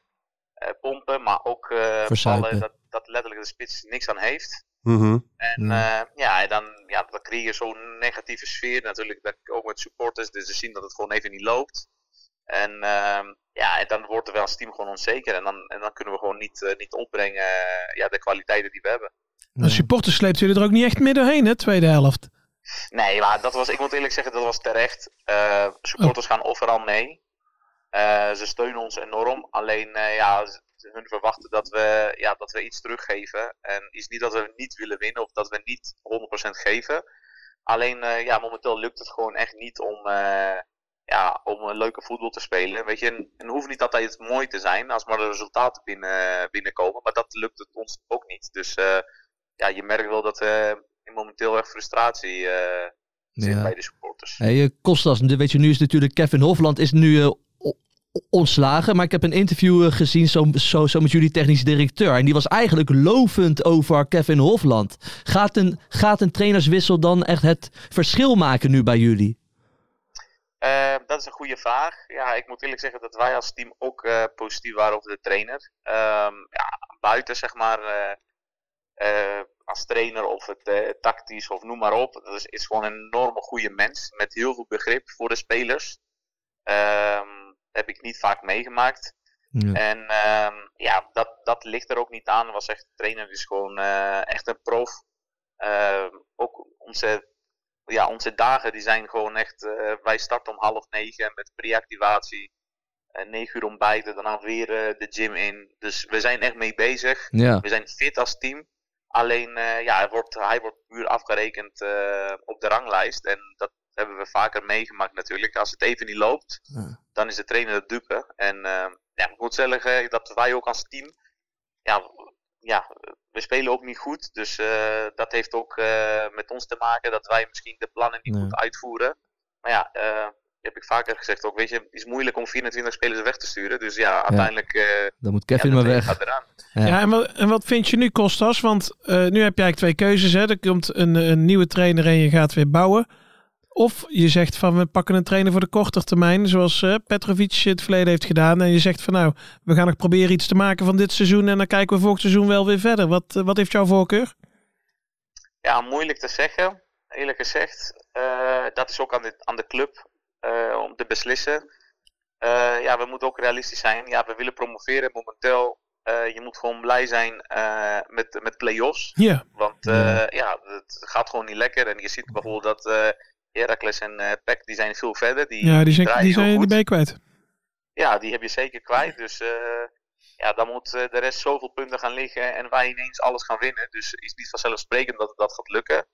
F: eh, pompen, maar ook eh
D: Verzuipen.
F: ballen dat, dat letterlijk de spits niks aan heeft.
C: Mhm.
F: En eh, ja, en dan, ja, dan creëer je zo'n negatieve sfeer natuurlijk. Dat, ook met supporters, dus ze zien dat het gewoon even niet loopt. En ehm, ja, en dan wordt er wel als team gewoon onzeker. En dan, en dan kunnen we gewoon niet, eh, niet opbrengen eh, ja, de kwaliteiten die we hebben.
E: De supporters sleept jullie er ook niet echt meer doorheen, hè, tweede helft.
F: Nee, maar dat was, ik moet eerlijk zeggen, dat was terecht. Eh, supporters gaan overal mee. Eh, ze steunen ons enorm. Alleen, eh, ja, ze- hun verwachten dat we, ja, dat we iets teruggeven. En is niet dat we niet willen winnen of dat we niet 100% geven. Alleen, eh, ja, momenteel lukt het gewoon echt niet om, eh, ja, om een leuke voetbal te spelen. Weet je, en het hoeft niet altijd mooi te zijn als maar de resultaten binnen, binnenkomen. Maar dat lukt het ons ook niet. Dus eh, ja, je merkt wel dat eh, momenteel echt frustratie eh, zit
D: Ja.
F: bij de supporters.
D: Hey, eh, Kostas, weet je, nu is natuurlijk Kevin Hofland is nu eh, o- o- ontslagen. Maar ik heb een interview eh, gezien zo, zo, zo met jullie technisch directeur. En die was eigenlijk lovend over Kevin Hofland. Gaat een, gaat een trainerswissel dan echt het verschil maken nu bij jullie?
F: Eh, dat is een goede vraag. Ja, ik moet eerlijk zeggen dat wij als team ook eh, positief waren over de trainer. Ehm, ja, buiten zeg maar eh, eh, als trainer of het eh, tactisch of noem maar op. Dat is, is gewoon een enorme goede mens met heel veel begrip voor de spelers. Ehm, heb ik niet vaak meegemaakt. En ehm, ja, dat, dat ligt er ook niet aan. Was echt, de trainer is gewoon eh, echt een prof. Ehm, ook onze, ja, onze dagen die zijn gewoon echt. eh, wij starten om half negen met preactivatie. eh, negen uur ontbijten, daarna weer eh, de gym in. Dus we zijn echt mee bezig.
D: Ja.
F: We zijn fit als team. Alleen eh, ja, hij, wordt, hij wordt puur afgerekend eh, op de ranglijst. En dat hebben we vaker meegemaakt natuurlijk. Als het even niet loopt, dan is de trainer de dupe. En eh, ja, ik moet zeggen eh, dat wij ook als team. Ja, ja, we spelen ook niet goed. Dus eh, dat heeft ook eh, met ons te maken dat wij misschien de plannen niet
D: Ja.
F: goed uitvoeren. Maar ja, eh, heb ik vaker gezegd ook. Weet je, het is moeilijk om 24 spelers weg te sturen. Dus ja, uiteindelijk. eh,
D: Dan moet
F: ja,
D: Kevin
F: de
D: maar
F: trainer
D: weg.
F: Gaat eraan.
D: Ja.
E: Ja, en, wat, en wat vind je nu, Kostas? Want eh, nu heb je eigenlijk twee keuzes. Hè? Er komt een, een nieuwe trainer en je gaat weer bouwen. Of je zegt van we pakken een trainer voor de korter termijn, zoals eh, Petrovic het verleden heeft gedaan. En je zegt van nou, we gaan nog proberen iets te maken van dit seizoen. En dan kijken we volgend seizoen wel weer verder. Wat, eh, wat heeft jouw voorkeur?
F: Ja, moeilijk te zeggen. Eerlijk gezegd, Eh, dat is ook aan de, aan de club eh, om te beslissen. Eh, ja, we moeten ook realistisch zijn. Ja, we willen promoveren momenteel. Eh, je moet gewoon blij zijn eh, met, met play-offs.
E: Ja,
F: Want eh, ja, het gaat gewoon niet lekker. En je ziet bijvoorbeeld dat eh Heracles en eh PEC, die zijn veel verder. Die,
E: ja die, zijn,
F: draaien
E: die,
F: heel
E: zijn, die
F: goed.
E: ben je kwijt.
F: Ja, die heb je zeker kwijt. Dus eh, ja, dan moet eh, de rest zoveel punten gaan liggen en wij ineens alles gaan winnen. Dus het is niet vanzelfsprekend dat dat gaat lukken.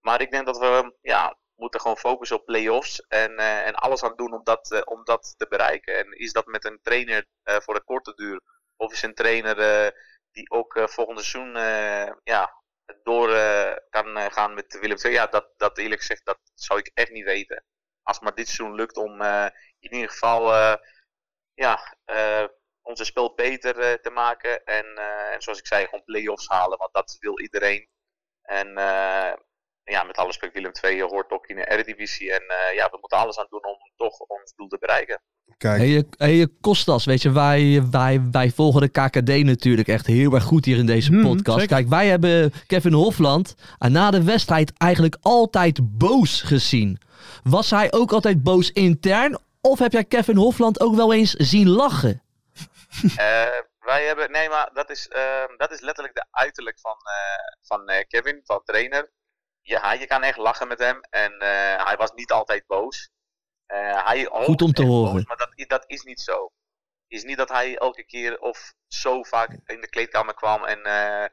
F: Maar ik denk dat we ja, moeten gewoon focussen op play-offs en, eh, en alles aan doen om dat, eh, om dat te bereiken. En is dat met een trainer eh, voor een korte duur? Of is een trainer eh, die ook eh, volgend seizoen eh, ja, door eh, kan eh, gaan met Willem II? Ja, dat, dat eerlijk gezegd, dat zou ik echt niet weten. Als maar dit seizoen lukt om eh, in ieder geval... eh, ja, eh, onze spel beter eh, te maken. En, eh, en zoals ik zei, gewoon play-offs halen, want dat wil iedereen. En eh, ja, met alle respect, Willem II hoort ook in de Eredivisie. En eh, ja, we moeten alles aan doen om toch ons doel te bereiken.
C: Kijk,
D: Hey, eh, hey, eh, Kostas, weet je, wij, wij, wij volgen de KKD natuurlijk echt heel erg goed hier in deze
E: Hmm,
D: podcast.
E: zeker.
D: Kijk, wij hebben Kevin Hofland eh, na de wedstrijd eigenlijk altijd boos gezien. Was hij ook altijd boos intern? Of heb jij Kevin Hofland ook wel eens zien lachen?
F: Eh, wij hebben, nee, maar dat is, eh, dat is letterlijk de uiterlijk van, eh, van eh, Kevin, van trainer. Ja, je kan echt lachen met hem. En eh, hij was niet altijd boos. Eh, hij hoopt
D: om te
F: echt
D: horen.
F: boos, maar dat, i- dat is niet zo. is niet dat hij elke keer of zo vaak in de kleedkamer kwam en eh, eh,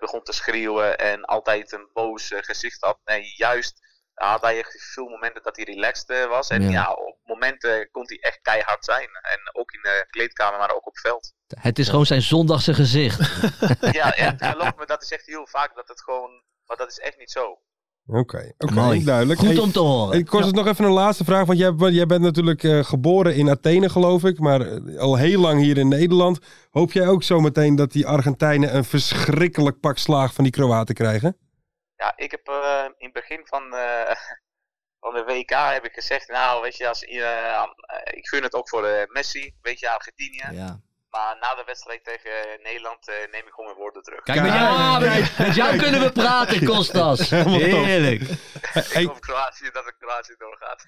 F: begon te schreeuwen en altijd een boos eh, gezicht had. Nee, juist had hij echt veel momenten dat hij relaxed eh, was. En
D: Ja.
F: ja, op momenten kon hij echt keihard zijn. En ook in de kleedkamer, maar ook op veld.
D: Het is gewoon zijn zondagse gezicht.
F: Ja, en geloof me, dat is echt heel vaak dat het gewoon. Maar dat is echt niet zo.
C: oké. Oké,
D: Mooi.
C: duidelijk.
D: Goed
C: Hey,
D: om te horen.
C: Ik kost het nog even een laatste vraag, want jij, want jij bent natuurlijk eh, geboren in Athene, geloof ik, maar eh, al heel lang hier in Nederland. Hoop jij ook zometeen dat die Argentijnen een verschrikkelijk pak slaag van die Kroaten krijgen?
F: Ja, ik heb eh, in het begin van, eh, van de WK heb ik gezegd, nou weet je, als, eh, eh, ik gun het ook voor eh, Messi, weet je, Argentinië.
D: Ja.
F: Maar na de wedstrijd tegen Nederland eh, neem ik gewoon mijn woorden terug.
D: Kijk, met
C: Kijk,
D: jou, met-
C: kijk,
D: met jou kunnen we praten, Kostas.
C: Helemaal top.
D: Heerlijk.
C: Hey,
F: Of Kroatië, dat de Kroatië doorgaat.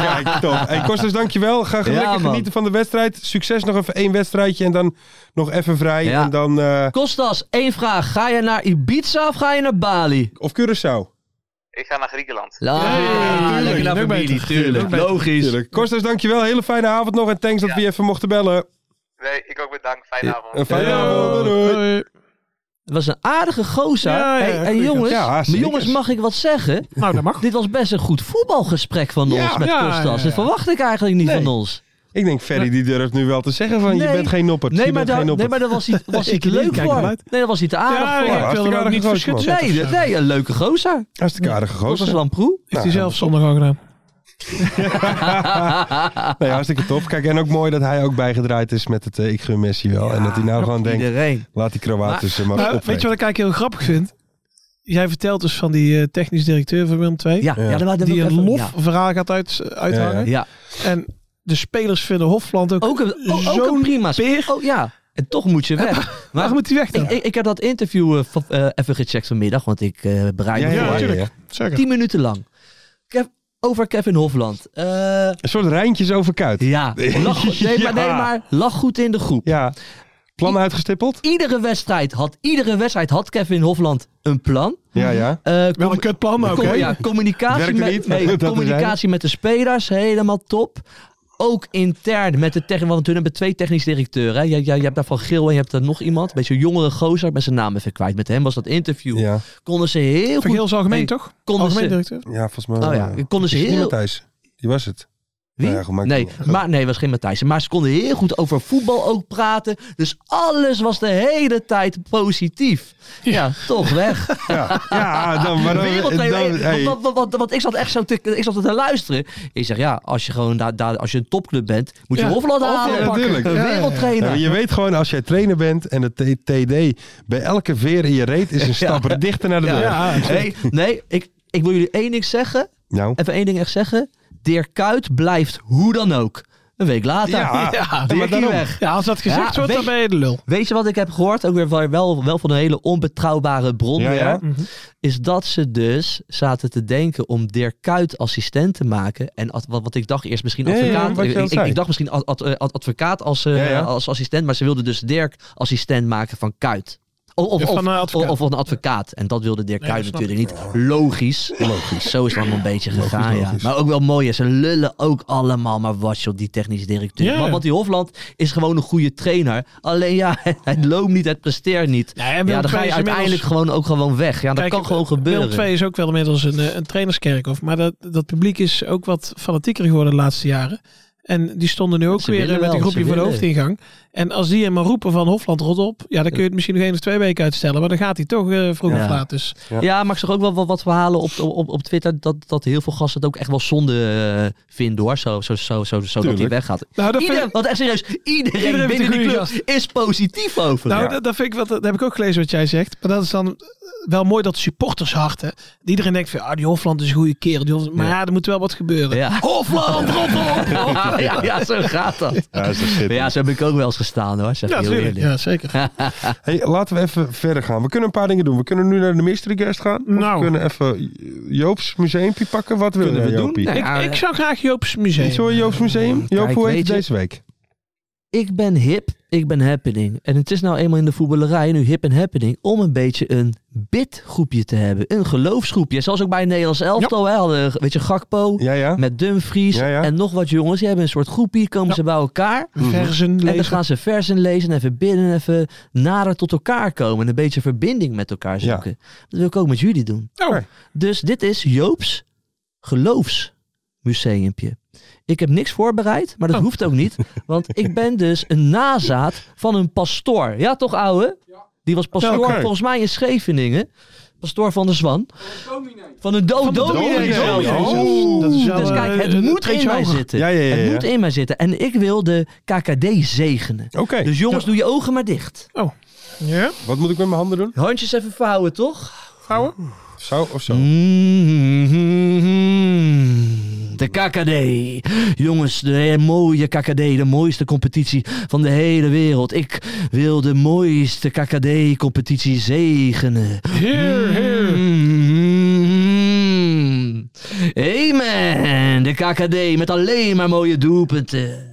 C: kijk, top. Hey, Kostas, dankjewel. Ga
D: Ja,
C: lekker
D: man.
C: genieten van de wedstrijd. Succes nog even één wedstrijdje en dan nog even vrij.
D: Ja.
C: En dan, eh,
D: Kostas, één vraag. Ga je naar Ibiza of ga je naar Bali?
C: of Curaçao.
F: Ik ga naar Griekenland.
D: La,
E: tuurlijk,
D: lekker naar
E: nog
D: familie,
E: beter. Nog
D: tuurlijk.
E: beter.
D: Logisch.
C: Tuurlijk. Kostas, dankjewel. Hele fijne avond nog. En thanks dat we je even mochten bellen.
F: Nee, ik ook bedankt. Fijne avond.
C: Een fijne
D: Yo.
C: avond. Doei, doei.
E: Hoi.
D: Het was een aardige gozer.
E: Ja, ja,
D: Hey, en
E: gelukkig.
D: jongens,
C: Ja,
D: maar
C: zeker.
D: jongens, mag ik wat zeggen?
E: Nou, dat mag.
D: Dit was best een goed voetbalgesprek van
C: Ja.
D: ons met
E: Ja,
D: Kostas.
E: ja, ja.
D: Dat verwacht ik eigenlijk niet
C: Nee.
D: van ons.
C: Ik denk, Ferry die durft nu wel te zeggen van je
D: Nee.
C: bent geen noppert. je
D: Nee, maar,
C: bent
D: daar,
C: geen
D: nee,
C: noppert.
D: maar
C: Oh,
D: daar was hij, was hij
E: Ik
D: te
E: niet,
D: leuk
E: kijk
D: voor.
E: hem
D: Nee,
E: uit.
D: daar was hij te aardig
E: Ja,
D: voor.
E: ik wil hem ook niet
C: Hartstikke
E: verschut
C: aardig
E: zetten.
D: Nee,
E: of zo.
D: nee, een leuke gozer.
C: Hartstikke aardige
D: Kostas
C: gozer.
D: Lamproe.
E: Heeft hij zelf zondag al gedaan.
C: Nee, hartstikke tof. Kijk, en ook mooi dat hij ook bijgedraaid is met het eh, ik gun Messi wel. en dat hij nou gewoon denkt,
D: Iedereen.
C: laat die Kroaten ze
D: Nou,
C: maar,
E: Maar
C: opvreten.
E: Nou, weet je wat ik eigenlijk heel grappig vind? Jij vertelt dus van die eh, technisch directeur van Willem II.
D: Ja, ja. dan laten we
E: Die een
D: even-
E: lof
D: ja.
E: verhaal gaat uit, eh, uithangen.
C: Ja,
D: ja.
E: En de spelers vinden Hofland ook...
D: Ook een, ook- ook een
E: Zo'n
D: prima sp-
E: peer.
D: Oh ja, en toch moet je weg. Maar
E: Waarom moet hij weg dan?
D: ik, ik, ik heb dat interview eh, van- eh, even gecheckt vanmiddag, want ik eh bereid
C: Ja,
D: me
C: ja,
D: voor.
C: ja,
E: natuurlijk.
C: ja.
E: Zeker.
D: Tien minuten lang. Kev- over Kevin Hofland. Eh,
C: Een soort rijntjes over kuit. Ja.
D: ja, lach, nee,
C: Ja.
D: Maar, nee, maar lach goed in de groep.
C: Plan uitgestippeld?
D: Iedere wedstrijd had, iedere wedstrijd had Kevin Hofland een plan.
C: Ja, ja.
D: Eh,
E: Wel een kut plan, maar oké.
D: Com- ja, communicatie,
C: Werkte
D: met,
C: niet,
D: nee,
C: dat is
D: communicatie met de spelers, helemaal top. Ook intern met de technisch, want toen hebben we twee technisch directeuren. hè. Je, je, je hebt daar Van Geel en je hebt daar nog iemand. Een beetje een jongere gozer, ik ben zijn naam even kwijt. Met hem was dat interview.
C: Ja,
D: Konden ze heel
E: Van
D: goed...
E: Geel is algemeen,
D: Nee,
E: toch?
D: Konden
E: Algemeen
D: ze,
E: directeur.
C: ja volgens mij.
D: oh
C: wel,
D: ja,
C: ja. dus
D: konden ze
C: Is niet
D: heel...
C: Matthijs. Die was het.
D: Wie?
C: Nou ja, goed, maakt
D: nee,
C: niet uit.
D: maar, nee, was geen Matthijs. Maar ze konden heel goed over voetbal ook praten. Dus alles was de hele tijd positief. Ja, toch weg.
C: Ja, ja dan, maar dan,
D: Wereldwijd,
C: dan-
D: hey,
C: hey.
D: want, want, want, want ik zat echt zo te, ik zat te luisteren. Ik zeg, ja, als je gewoon daar, daar, als je een topclub bent, moet je
E: Ja,
D: Hofland
E: Hofland,
D: halen.
C: ja, natuurlijk.
D: Een
C: Ja, Ja,
D: wereldtrainer.
C: maar je weet gewoon, als jij trainer bent en de T- TD bij elke veer in je reet is een stap dichter naar de
D: Ja.
C: deur.
E: Ja,
D: Hey, nee, ik, ik wil jullie één ding zeggen.
C: Nou,
D: Even één ding echt zeggen. Dirk Kuyt blijft hoe dan ook. Een week later.
C: Ja.
E: Ja,
D: Dirkie
E: maar daarom.
D: weg.
E: Ja, als dat gezegd
D: Ja,
E: wordt,
D: weet-
E: dan ben je de lul.
D: Weet je wat ik heb gehoord? Ook weer wel- wel, wel van een hele onbetrouwbare bron.
C: Ja,
D: weer,
C: ja.
D: hè?
E: Mhm.
D: Is dat ze dus zaten te denken om Dirk Kuyt assistent te maken. En ad- wat, wat ik dacht eerst misschien
C: Ja, ja,
D: advocaat.
C: wat je
D: ik,
C: al
D: ik-
C: zei.
D: ik dacht misschien ad- ad- eh, ad- advocaat als, eh,
C: Ja, ja.
D: als assistent. Maar ze wilden dus Dirk assistent maken van Kuyt. O- Of,
E: Ja,
D: of,
E: van een advocaat.
D: of, of een advocaat. En dat wilde Dirk
E: Nee,
D: Kuyt
E: dat snap
D: natuurlijk niet. Logisch. Zo is het allemaal een beetje gegaan.
C: logisch.
D: Ja. Maar ook wel mooi. hè. Ze lullen ook allemaal maar was op die technisch directeur.
E: Ja.
D: Want- Want die Hofland is gewoon een goede trainer. Alleen ja, het loopt niet, het presteert niet.
E: Nee, en Willem
D: ja, dan ga
E: II
D: je
E: is
D: uiteindelijk
E: inmiddels-
D: gewoon ook gewoon weg. Ja, dat
E: Kijk,
D: kan gewoon gebeuren.
E: Willem II is ook wel inmiddels een, eh, een trainerskerkhof. Maar dat, dat publiek is ook wat fanatieker geworden de laatste jaren. En die stonden nu ook
D: Ze
E: weer
D: willen
E: eh, met
D: wel,
E: een groepje
D: ze
E: voor de
D: willen.
E: hoofdingang. En als die hem maar roepen van Hofland, rot op. Ja, dan kun je het misschien nog één of twee weken uitstellen. Maar dan gaat hij toch eh, vroeg
D: Ja.
E: of laat. Dus
D: ja. maar ik zag ook wel wat, wat verhalen op, op, op Twitter dat, dat heel veel gasten het ook echt wel zonde eh, vinden hoor. Zo, zo, zo, zo, zo dat hij
C: Tuurlijk.
D: weggaat.
E: Nou, dat vind
D: Ieder,
E: ik-
D: want echt serieus, iedereen,
E: Iedereen vindt
D: binnen
E: een
D: die
E: goede
D: club is positief over.
E: Nou,
D: hem.
E: dat, dat vind ik wat, dat heb ik ook gelezen wat jij zegt. Maar dat is dan eh, wel mooi dat supportersharten. dat Iedereen denkt van, ah, die Hofland is een goede kerel. Die Hofland- maar ja. er moet wel wat gebeuren.
D: Ja.
E: Hofland, rot op!
D: ja. ja, zo gaat dat.
C: ja, is dat shit.
D: Ja, zo heb ik ook wel eens gestaan hoor. Zeg
E: Ja,
D: heel
E: natuurlijk.
D: eerlijk.
E: Ja, zeker.
C: Hey, laten we even verder gaan. We kunnen een paar dingen doen. We kunnen nu naar de Mystery Guest gaan. Of
E: Nou.
C: we kunnen even Joops Museumpje pakken. Wat willen
D: Kunnen we
C: we
D: doen?
C: Joopie?
D: Ja.
E: ik, ik zou graag Joop's museum.
C: Iets hoor, Joops Museum. Joop,
D: Kijk,
C: hoe
D: weet
C: heet
D: je-
C: het deze week?
D: ik ben hip, ik ben happening. En het is nou eenmaal in de voetballerij, nu hip en happening, om een beetje een bidgroepje te hebben. Een geloofsgroepje. Zoals ook bij het Nederlands elftal, hè, hadden, we, weet je, Gakpo
C: Ja, ja.
D: met Dumfries
C: Ja, ja.
D: en nog wat jongens. Die hebben een soort groepie, komen ze bij elkaar.
E: Verzen
D: En dan
E: lezen.
D: gaan ze versen lezen en even bidden en even nader tot elkaar komen. En een beetje verbinding met elkaar
C: Ja.
D: zoeken. Dat wil ik ook met jullie doen.
E: Oh,
D: Dus dit is Joop's geloofsmuseumpje. Ik heb niks voorbereid, maar dat hoeft ook niet. Want ik ben dus een nazaat van een pastoor. Ja, toch, ouwe? Die was pastoor
C: Ja, oké.
D: volgens mij in Scheveningen. Pastoor van de Zwan. Van een dominee. Van een do dominee.
C: dominee
D: zelfs.
C: zelfs.
E: Oh, dat is wel,
D: Dus kijk,
E: eh,
D: het moet in
E: treetje
D: mij
E: hoger.
D: zitten.
C: Ja, ja, ja, ja.
D: Het moet in mij zitten. En ik wil de KKD zegenen.
C: Oké,
D: Dus jongens, doe je ogen maar dicht.
E: Ja,
C: wat moet ik met mijn handen doen?
D: Handjes even vouwen, toch?
E: vrouwen.
C: Zo of zo?
D: Mhm. de KKD. Jongens, de mooie KKD, de mooiste competitie van de hele wereld. Ik wil de mooiste KKD-competitie zegenen.
E: Heer, heer.
D: Mm. Amen. De KKD met alleen maar mooie doelpunten.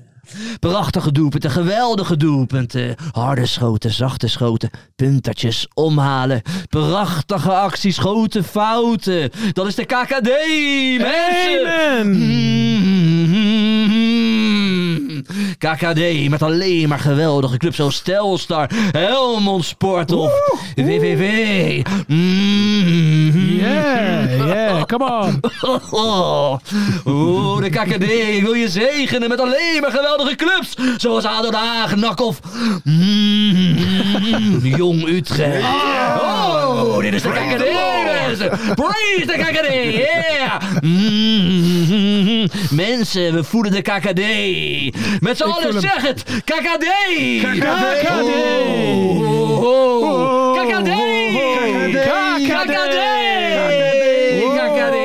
D: Prachtige doelpunten, geweldige doelpunten. Harde schoten, zachte schoten, puntertjes omhalen. Prachtige acties, grote fouten. Dat is de KKD, mensen!
E: Amen.
D: Mm. KKD met alleen maar geweldige clubs zoals Telstar, Helmond Sport of WWW. Mm.
E: Yeah, yeah, come on.
D: Oh, Oeh, de KKD, ik wil je zegenen met alleen maar geweldige clubs. Zoals ADO Den Haag, NAC of mm, Jong Utrecht. Oh, dit is de KKD. mensen. Praise de KKD, yeah. Mm, mensen, we voeden de KKD. Met z'n allen, zeg het. KKD.
E: KKD.
D: Oh, oh, oh. KKD. KKD.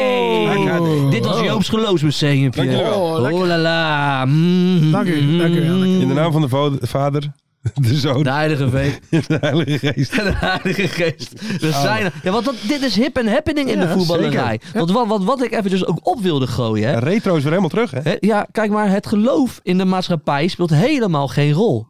D: KKD. Dit was Joop's geloofsmuseum.
C: Dankjewel.
D: Oh la la. Mm.
E: Dank u, dank u, dank u.
C: In de naam van de vo- vader, de zoon
D: De Heilige Vee.
C: en de Heilige Geest.
D: De Heilige Geest.
E: Oh.
D: We zijn er. Ja, want dat, dit is hip en happening in de voetballerij. Want wat, wat, wat ik eventjes ook op wilde gooien. Hè.
C: Retro is weer helemaal terug, hè?
D: Hè, Ja, kijk maar, het geloof in de maatschappij speelt helemaal geen rol.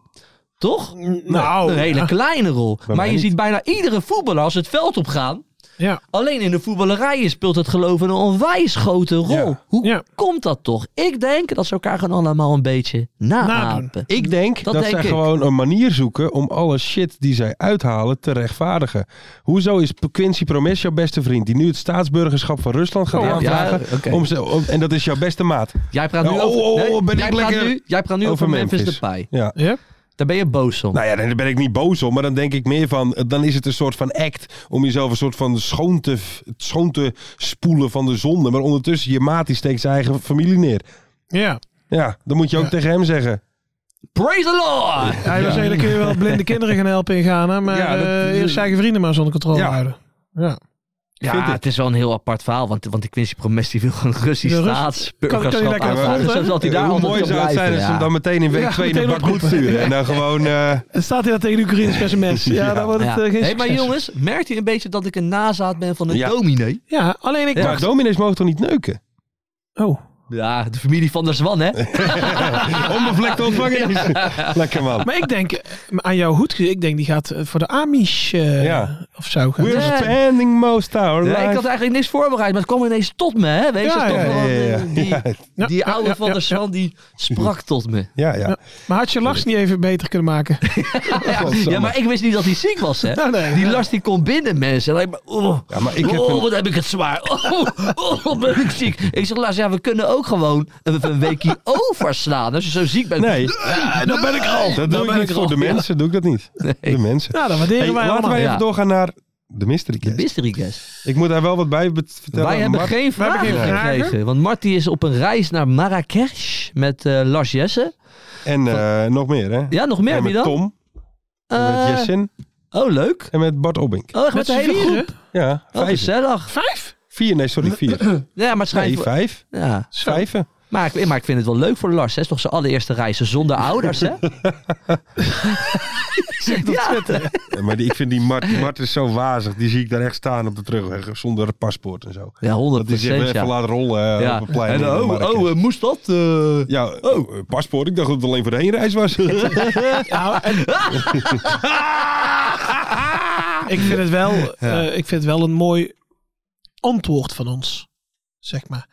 D: Toch?
E: Nou,
D: een hele
E: ja.
D: kleine rol. Maar
C: mij
D: je
C: niet.
D: ziet bijna iedere voetballer als ze het veld op gaan.
E: Ja.
D: Alleen in de voetballerijen speelt het geloof een onwijs grote rol.
C: Ja.
D: Hoe
E: Ja.
D: komt dat toch? Ik denk dat ze elkaar gewoon allemaal een beetje
E: Nadoen.
D: naapen.
C: Ik denk dat,
D: Dat denk
C: zij
D: ik.
C: gewoon een manier zoeken om alle shit die zij uithalen te rechtvaardigen. Hoezo is P- Quincy Promes jouw beste vriend, die nu het staatsburgerschap van Rusland gaat
D: Oh, ja.
C: aanvragen?
D: Ja, oké.
C: om ze, om- en dat is jouw beste maat.
D: Jij praat nu
C: Oh,
D: over,
C: oh, oh,
D: nee,
C: ben
D: jij
C: ik
D: praat
C: lekker
D: nu, jij praat nu over, Memphis, Depay.
C: Ja.
E: Ja.
D: Daar ben je boos om.
C: Nou ja, daar ben ik niet boos om, maar dan denk ik meer van, eh, dan is het een soort van act om jezelf een soort van schoon te, v- schoon te spoelen van de zonde. Maar ondertussen, je maat die steekt zijn eigen familie neer.
E: ja.
C: Ja, dan moet je ook
E: Ja.
C: tegen hem zeggen.
D: Praise the Lord!
E: Ja, je wil zeggen, dan kun je eh, wel blinde kinderen gaan helpen in Ghana, maar
C: Ja, dat-
E: eh, eerst zijn eigen vrienden maar zonder controle
C: Ja.
E: houden. Ja.
D: Ja,
C: vind het.
D: het is wel een heel apart verhaal, want, want die Quincy Promes die wil gewoon Russisch
E: Ja, Rus- kan je
D: staatsburgerschap
E: lekker
D: aanvragen.
E: volgen?
D: Zodat hij daar
C: eh, hoe
D: altijd
C: mooi
D: kan
C: zou het
D: blijven.
C: zijn als ze hem
D: ja.
C: dan meteen in week
E: Ja,
C: 2
E: meteen
C: naar Bad moet
E: oproepen.
C: sturen. En dan gewoon... eh,
E: En staat hij dat tegen de Oekraïns sms? Ja,
C: Ja.
E: dan wordt het
D: Ja.
E: eh, geen
D: hey, maar
E: succes.
D: jongens, merkt u een beetje dat ik een nazaat ben van een
C: Ja.
D: dominee?
E: Ja, alleen ik
D: Ja.
C: Maar
E: dacht...
C: dominees mogen toch niet neuken?
E: Oh,
D: Ja, de familie van der Zwan, hè?
C: Onbevlekte ontvanger. Lekker man.
E: maar ik denk eh, aan jouw hoed, ik denk die gaat eh, voor de Amish eh,
C: Ja.
E: of zo gaan.
C: We're
D: Nee.
C: spending most our
D: Ja, ik
C: life.
D: had eigenlijk niks voorbereid, maar het kwam ineens tot me, hè? Wees
E: Ja,
D: dat toch
E: ja,
D: wel,
C: ja, ja,
D: eh, Die,
C: ja.
E: Ja,
D: die
E: ja,
D: oude
E: ja,
D: van
E: ja,
D: der Zwan, die sprak tot me.
C: Ja, ja.
E: Maar had je last niet even beter kunnen maken?
D: Ja, ja, maar ik wist niet dat hij ziek was, hè?
E: Nou, nee.
D: Die last die komt binnen, mensen. En hij- oh,
C: Ja, maar ik heb
D: oh,
C: een-
D: wat heb ik het zwaar. Oh, oh, wat ben ik ziek. Ik zeg, Lars, ja, we kunnen ook gewoon even een weekje overslaan. Als je zo ziek bent.
C: Nee, dan ben ik al. Dat doe ik
D: ben
C: niet
D: ik
C: voor
D: al,
C: de
D: ja.
C: mensen. Doe ik dat niet. De mensen.
E: Nou, dan waarderen
C: Hey,
E: wij
C: laten
E: allemaal.
C: wij even
D: Ja.
C: doorgaan naar de mystery guest.
D: Mystery guest.
C: Ik moet daar wel wat bij bet- vertellen.
D: Wij hebben
C: Mart-
D: geen
E: wij hebben
D: vragen
E: geen vragen.
D: gekregen. Want Marty is op een reis naar Marrakesh met eh, Lars Jesse.
C: En eh, nog meer, hè?
D: Ja, nog meer
C: en
D: wie
C: met
D: dan?
C: Tom, en
D: Eh,
C: met Jessin
D: oh, leuk.
C: en met Bart Obink.
D: Oh, echt met de
E: z'n
D: hele
E: vieren?
D: groep.
C: Ja,
D: Oh,
C: vijf.
D: gezellig.
E: Vijf?
C: Vier, nee, sorry, vier.
D: Ja, maar het schijnt...
C: Nee, vijf.
D: ja.
E: Zo.
C: Vijven.
D: Maar, ik, maar ik vind het wel leuk voor Lars. hè. Het is toch zijn allereerste reizen zonder ouders, hè? ja.
C: Ja, maar die, ik vind die Mart, die Mart is zo wazig. Die zie ik daar echt staan op de terugweg zonder paspoort en zo.
D: ja, 100
C: Dat hij zich weer even
D: ja.
C: laat rollen eh,
D: Ja.
C: op het plein.
D: En,
C: in
D: oh,
C: Marrakesh.
D: oh, eh, moest dat? eh?
C: ja, oh, eh, paspoort. Ik dacht dat het alleen voor de heenreis was.
E: Nou, en- ik, vind het wel, eh, ik vind het wel een mooi antwoord van ons, zeg maar.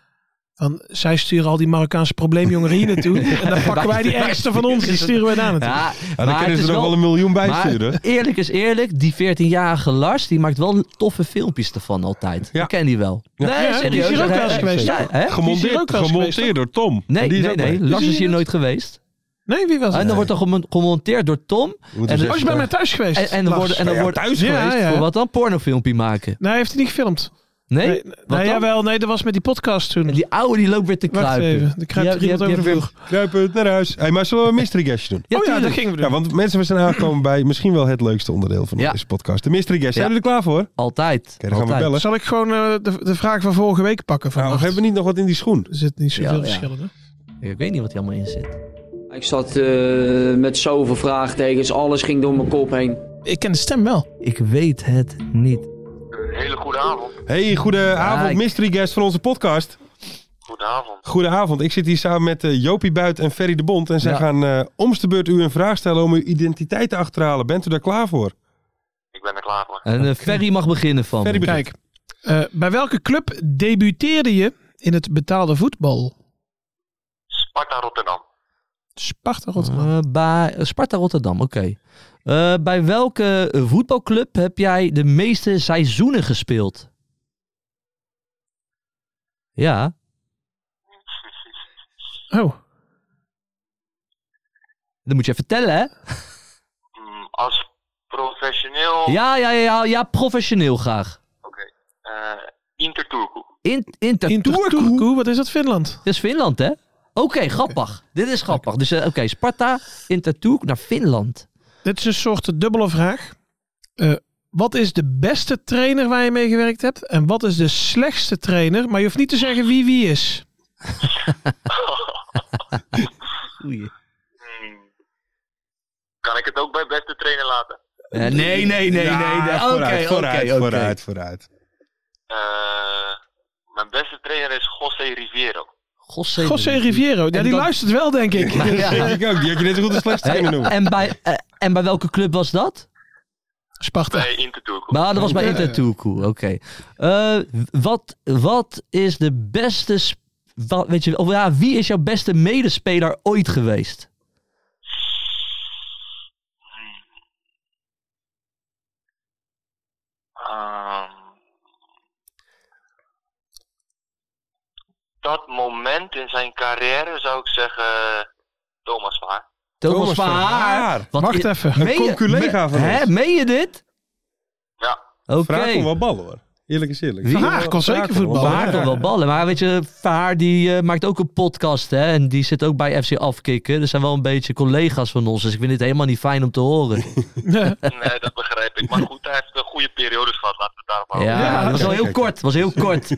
E: Want zij sturen al die Marokkaanse probleemjongeren hier naartoe. En dan pakken wij die ergste van ons, die sturen wij daar naartoe.
D: Ja,
C: Ja, dan
D: maar het
C: kunnen ze
D: is
C: er
D: wel-
C: ook wel een miljoen bij
D: maar
C: sturen.
D: eerlijk is eerlijk, die 14-jarige Lars, die maakt wel toffe filmpjes ervan altijd.
C: Ja.
D: Ik ken die wel.
E: Ja, die is hier ook wel eens
D: hè?
E: geweest,
D: Ja, hè?
E: Die is hier
C: Gemonteerd,
E: ook wel eens
C: gemonteerd door Tom.
D: Nee,
C: Die is
D: nee,
C: ook bij.
D: nee. Lars
E: Is
D: is
E: die
D: hier
E: dat?
D: nooit geweest.
E: Nee, wie was
D: En
E: het?
D: dan wordt er gemo- gemonteerd door Tom.
C: Moeten we
D: En
C: eens
D: de-
E: Oh,
C: even
E: is bij mij
C: kijken.
E: thuis geweest.
D: En, en dan
E: Lars.
D: worden, en dan
C: Ja,
D: wordt
C: thuis
E: Ja,
C: geweest.
E: ja.
D: voor wat dan? Pornofilmpje maken.
E: Nee, heeft hij niet gefilmd.
D: Nee?
E: Nee,
D: dan?
E: nou, jawel, nee, dat was met die podcast toen.
D: En die oude die loopt weer te
E: Wacht
D: kruipen.
E: even, er kruipt er iemand over de vloer.
C: Kruipend naar huis. Hey, maar zullen we een mystery guestje doen?
D: Ja,
E: oh ja, dat
D: tuurlijk.
E: gingen we doen.
C: Ja, want mensen, we zijn aangekomen bij misschien wel het leukste onderdeel van
D: Ja.
C: deze podcast. De mystery guest. Zijn
D: Ja.
C: jullie er klaar voor? Oké,
D: Altijd.
C: dan gaan we
D: Altijd.
C: bellen.
E: Zal ik gewoon eh, de, de vraag van vorige week pakken?
C: Nou,
E: vannacht?
C: hebben we niet nog wat in die schoen?
E: Er zit niet zoveel
D: Ja, ja.
E: verschillen. hè?
D: Ik weet niet wat hij allemaal in zit.
G: Ik zat eh, met zoveel vraagtekens, alles ging door mijn kop heen.
E: Ik ken de stem wel.
D: Ik weet het niet.
F: Een hele goede avond.
C: Hey, goede avond,
D: ik-
C: mystery guest van onze podcast.
F: Goedenavond.
C: Goedenavond, ik zit hier samen met eh, Jopie Buit en Ferry de Bond. En zij
D: Ja.
C: gaan eh om de beurt u een vraag stellen om uw identiteit te achterhalen. Bent u daar klaar voor?
F: Ik ben er klaar voor.
D: En eh, Ferry mag beginnen van.
C: Ferry begint.
E: Kijk, eh, bij welke club debuteerde je in het betaalde voetbal?
F: Sparta Rotterdam.
E: Sparta Rotterdam.
D: Eh, bij eh, Sparta Rotterdam, oké. Eh, bij welke eh, voetbalclub heb jij de meeste seizoenen gespeeld? Ja,
E: Oh,
D: dat moet je even tellen, hè?
C: Oh.
F: Mm, Als professioneel
D: Ja, ja, ja, ja, ja professioneel graag.
F: eh Inter Turku.
D: In, Inter,
E: Inter
D: Turku.
E: Turku, wat is dat, Finland?
D: Dat is Finland, hè? Oké, grappig. Dit is grappig. Dus eh, oké, Sparta, Inter Turku naar Finland.
E: Dit is een soort dubbele vraag. Eh, wat is de beste trainer waar je mee gewerkt hebt? En wat is de slechtste trainer? Maar je hoeft niet te zeggen wie wie is.
F: Mm. Kan ik het ook bij beste trainer laten?
D: Eh, nee, nee, nee, nee.
C: Ja,
D: nee. Oké,
C: vooruit,
D: oké,
C: vooruit,
D: oké.
C: vooruit, vooruit.
F: Eh, mijn beste trainer is José Riviero.
D: José,
E: José Riviero. Ja,
D: En
E: die
D: dan-
E: luistert wel, denk ik.
D: Ja, ja.
C: Ik ook, die had je net zo goed als slechtste
D: Hey,
C: kunnen noemen.
D: en, bij, eh, en bij welke club was dat?
E: Sparta.
F: Bij Inter Turku.
D: Maar dat was bij
E: Oké.
D: Inter Turku, oké. Eh, wat, wat is de beste... sp- Wat, weet je, of ja, wie is jouw beste medespeler ooit geweest?
F: Ehm, dat moment in zijn carrière zou ik zeggen Thomas maar.
D: Thomas van Haar. Wat
E: Wacht
D: i-
E: even.
D: Meen je-
C: Een collega van
D: Hè,
C: ons.
D: meen je dit?
F: Ja,
D: Oké.
C: Vraag kon wel ballen hoor. Eerlijk is eerlijk.
D: Wie? Ah,
C: Vraag
E: Haar kon zeker
C: Vraag wel
E: voetballen.
C: ballen.
D: Vaar kan wel ballen, maar weet je, Vaar die eh, maakt ook een podcast hè, en die zit ook bij FC Afkikken. Dat zijn wel een beetje collega's van ons, dus ik vind dit helemaal niet fijn om te horen.
E: Ja.
F: nee, dat begrijp ik. Maar goed, hij heeft een goede periode gehad. Laten we het daarop
D: Ja,
F: houden.
D: dat was wel
C: oké,
D: heel
C: oké.
D: kort, was heel kort.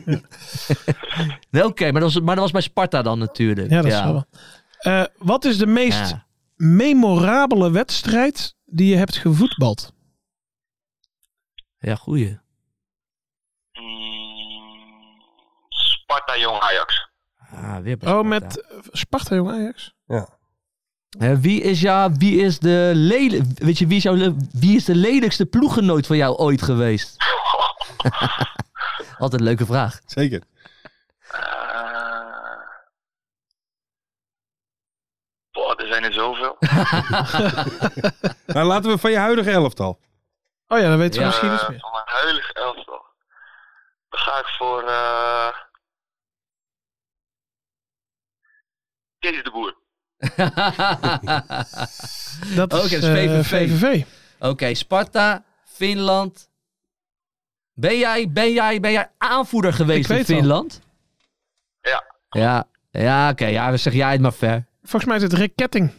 D: nee, Oké, maar, dat was- maar dat was bij Sparta dan natuurlijk.
E: Ja, dat is wel. Eh, wat is de meest
D: Ja.
E: memorabele wedstrijd die je hebt gevoetbald?
D: Ja, goeie.
F: Mm, Sparta Jong Ajax.
D: Ah, weer bij
E: Oh,
D: Sparta.
E: met eh, Sparta, jong Ajax.
D: Hè, wie, is ja, wie is de lelijk, weet je, wie is, jouw, le- wie is de lelijkste ploeggenoot van jou ooit geweest? Altijd een leuke vraag.
C: Zeker.
F: Eh, boah, er zijn er zoveel.
C: Maar Nou, laten we van je huidige elftal.
E: Oh ja, dan weten
D: Ja.
E: we misschien iets
F: Eh,
E: meer.
F: Van mijn huidige elftal. Dan ga ik voor... eh Kees de Boer.
E: Dat is,
D: Oh, Oké, dat is
E: eh,
D: VVV. Oké, Sparta, Finland. Ben jij, ben jij, ben jij aanvoerder geweest in
E: weet wel.
D: Finland?
F: Ja.
D: Ja, ja oké. ja, dan zeg jij het maar ver.
E: Volgens mij is het Rick Ketting.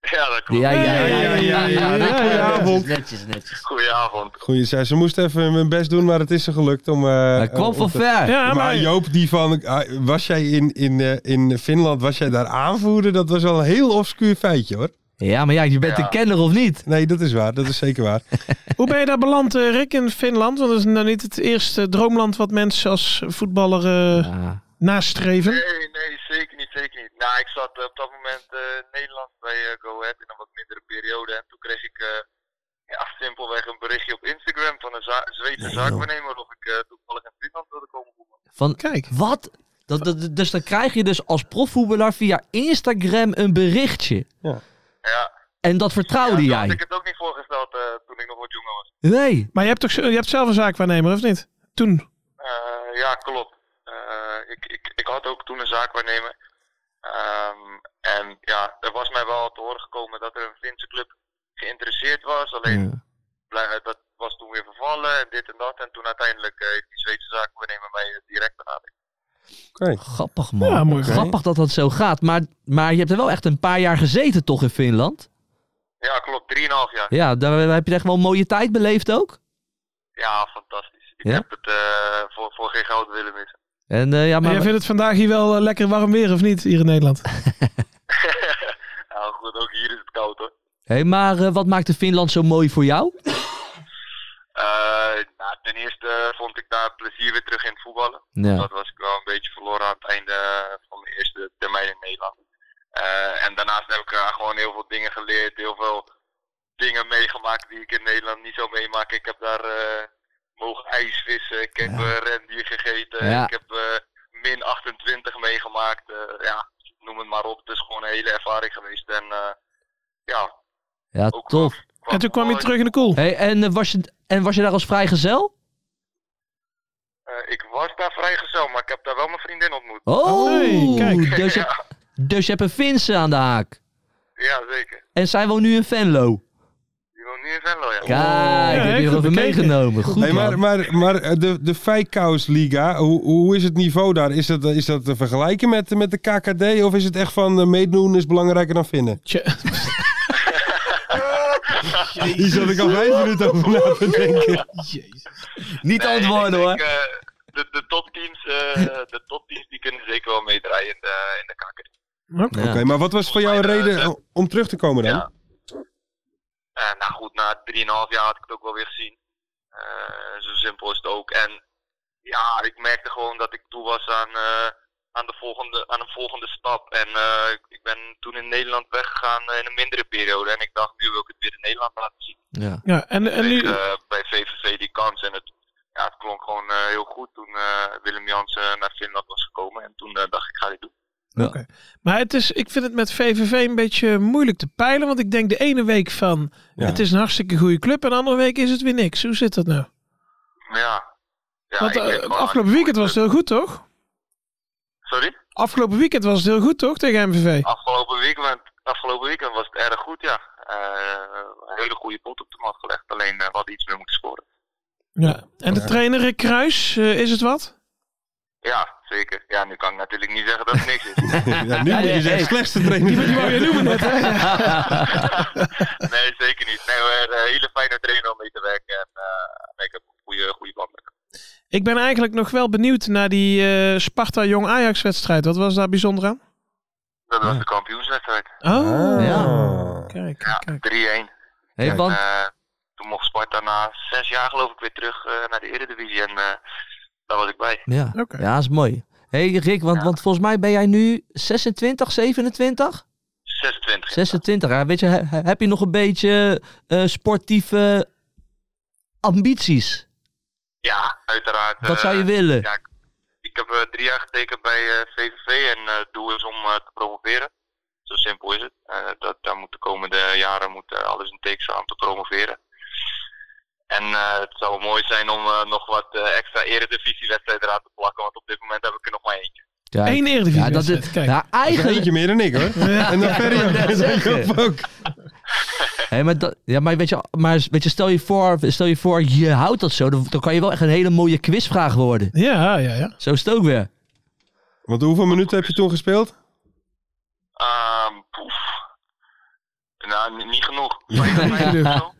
F: Ja, dat klopt.
D: Ja, ja, ja.
E: Hey,
D: ja, ja, ja,
E: ja,
D: ja,
C: goedenavond.
D: Netjes, netjes.
F: Goedenavond.
C: Goeie, zij, ze moest even hun best doen, maar het is ze gelukt om... eh,
D: Hij kwam
C: om
D: van
C: te-
D: ver.
E: Ja, maar,
C: Maar Joop, die van, ah, was jij in, in, eh, in Finland, was jij daar aanvoerder? Dat was al een heel obscuur feitje hoor.
D: Ja, maar ja, je bent
F: Ja.
D: een kenner of niet?
C: Nee, dat is waar, dat is zeker waar.
E: hoe ben je daar beland, eh, Rick, in Finland? Want dat is nou niet het eerste droomland wat mensen als voetballer eh,
D: Ja.
E: nastreven.
F: Nee, nee, zeker niet, zeker niet. Nou, ik zat eh, op dat moment eh Nederlands bij eh, Go Ahead in een wat mindere periode. En toen kreeg ik eh, ja, simpelweg een berichtje op Instagram van een za- Zweedse
D: Nee, joh.
F: zaakwaarnemer of ik eh, toevallig in Finland wilde komen voetballen.
D: Van,
E: Kijk,
D: wat? Dat, dat, dus dan krijg je dus als profvoetballer via Instagram een berichtje.
F: Ja,
D: En dat vertrouwde
F: ja, had ik
D: jij?
F: het ook niet voorgesteld eh, toen ik nog wat jonger was.
D: Nee.
E: maar je hebt toch zo- je hebt zelf een zaakwaarnemer, of niet? Toen.
F: Eh, ja, klopt. Eh, ik, ik, ik had ook toen een zaakwaarnemer. Ehm, en ja, er
D: Hmm.
F: was mij wel te horen gekomen dat er een Finse club geïnteresseerd was. Alleen
D: Ja.
F: blij- dat, was toen weer vervallen en dit en dat. En toen uiteindelijk eh, heeft die Zweedse zaak, we nemen mij eh, direct benaderd.
D: Grappig man.
E: Ja, mooi.
D: Grappig dat dat zo gaat. Maar, maar je hebt er wel echt een paar jaar gezeten toch in Finland?
F: Ja, klopt. 3,5 jaar.
D: Ja, daar heb je echt wel een mooie tijd beleefd ook.
F: Ja, fantastisch. Ik
D: Ja?
F: heb het eh, voor, voor geen goud willen missen.
D: En eh, ja,
E: Maar
D: maar...
E: jij vindt het vandaag hier wel eh, lekker warm weer of niet, hier in Nederland?
D: Oh.
F: nou goed, ook hier is het koud hoor.
D: Hey, maar eh, wat maakte Finland zo mooi voor jou?
F: Eh, nou, ten eerste eh, vond ik daar plezier weer terug in het voetballen.
D: Ja.
F: Dat was ik wel een beetje verloren aan het einde van mijn eerste termijn in Nederland. Eh, en daarnaast heb ik eh, gewoon heel veel dingen geleerd, heel veel dingen meegemaakt die ik in Nederland niet zou meemaken. Ik heb daar eh, mogen ijsvissen, ik heb eh, rendier gegeten,
D: Ja.
F: ik heb eh, min 28 meegemaakt. eh, ja, noem het maar op. Het is gewoon een hele ervaring geweest. En eh, ja,
D: ja,
F: ook
D: tof.
F: kwam-
E: en toen kwam je terug in de koel.
D: Hey, en, eh, was je, en was je daar als vrijgezel?
F: Eh, ik was daar vrijgezel, maar ik heb daar wel mijn vriendin ontmoet.
D: Oh,
E: Hey, kijk.
D: Dus, je, dus je hebt een Finse aan de haak.
F: Ja, zeker.
D: En zij woont nu in Venlo.
F: Die woont nu in Venlo, ja.
D: Kijk,
E: heel
D: heb je
E: goed
D: erover
E: Oh, bekeken.
D: meegenomen. Goed
C: Nee,
D: man.
C: maar, maar, maar eh, de, de Feikous-liga, hoe, hoe is het niveau daar? Is dat, eh, is dat te vergelijken met, met de KKD? Of is het echt van eh, meedoen is belangrijker dan vinden?
E: Tje.
C: Hier zat ik al vijf minuten over na te denken.
D: Niet
F: Nee,
D: antwoorden
F: ik
D: hoor.
F: denk, eh, de, de topteams, eh, de topteams die kunnen zeker wel meedraaien in de, in de KKD.
E: Oké.
C: Oké, maar wat was voor jou een reden om terug te komen dan?
F: Ja. Eh, nou goed, na 3,5 jaar had ik het ook wel weer gezien. Eh, zo simpel is het ook. En ja, ik merkte gewoon dat ik toe was aan, eh, aan, de, volgende, aan een volgende stap. En eh, ik- ik ben toen in Nederland weggegaan eh, in een mindere periode. En ik dacht, nu wil ik het weer in Nederland laten zien.
D: Ja.
E: Ja, en, en
F: kreeg
E: nu...
F: eh, bij VVV die kans. En het, ja, het klonk gewoon eh, heel goed toen eh, Willem Jansen naar Finland was gekomen. En toen eh, dacht ik, ik ga dit doen.
E: Maar het is, ik vind het met VVV een beetje moeilijk te peilen. Want ik denk de ene week van
C: Ja.
E: het is een hartstikke goede club. En de andere week is het weer niks. Hoe zit dat nou?
F: Ja. ja
E: want
F: ik
E: eh,
F: weet gewoon
E: afgelopen
F: niet hoe
E: weekend was het heel goed, toch?
F: Sorry?
E: Afgelopen weekend was het heel goed, toch? Tegen MVV.
F: Afgelopen weekend, afgelopen weekend was het erg goed, ja. Eh, een hele goede pot op de mat gelegd. Alleen eh, we hadden iets meer moeten scoren.
E: Ja. En de trainer Rick Kruis, eh, is het wat?
F: Ja, zeker. Ja, nu kan ik natuurlijk niet zeggen dat het niks is.
C: Ja, nu moet je zeggen, slechtste trainer.
E: Die wou je noemen net, hè?
F: nee, zeker niet. Nee, we hebben een hele fijne trainer om mee te werken. En eh, ik heb een goede, goede band met hem.
E: Ik ben eigenlijk nog wel benieuwd naar die eh, Sparta-Jong-Ajax-wedstrijd. Wat was daar bijzonder aan?
F: Dat was de kampioenswedstrijd.
E: Oh,
D: Ah. Ja.
E: kijk,
F: Ja,
E: kijk, kijk.
F: 3-1.
D: Hey, want,
F: Eh, toen mocht Sparta na zes jaar geloof ik weer terug eh, naar de Eredivisie. En eh, daar was ik bij.
D: ja.
E: Oké.
D: ja, is mooi. Hé hey Rick, want,
F: Ja.
D: want volgens mij ben jij nu 26, 27?
F: 26.
D: 26. Ja, weet je, he- he- heb je nog een beetje eh, sportieve ambities?
F: Ja, uiteraard.
D: Wat
F: eh,
D: zou je willen?
F: Ja, ik, ik heb eh, drie jaar getekend bij eh, VVV en eh, het doel is om eh, te promoveren. Zo simpel is het. Eh, dat, daar moet de komende jaren moet, eh, alles in teken staan om te promoveren. En eh, het zou mooi zijn om eh, nog wat eh, extra eredivisiewedstrijden eraan te plakken, want op dit moment heb ik er nog maar eentje.
D: Kijk.
E: Eén eredivisie
D: ja, dat is,
E: Kijk.
D: ja, eigenlijk,
C: Eentje meer dan ik hoor. En dan Ferry ook.
D: net
C: En dan
D: zeggen.
C: Joop ook.
D: Hé, maar, dat, ja, maar, weet je, maar weet je, stel, je voor, stel je voor, je houdt dat zo. Dan, dan kan je wel echt een hele mooie quizvraag worden.
E: Ja, ja, ja.
D: Zo is het ook weer.
C: Want hoeveel minuten heb je toen gespeeld?
F: Ehm, poef. Nou, ni- niet genoeg. Vijfenvijftig of zo.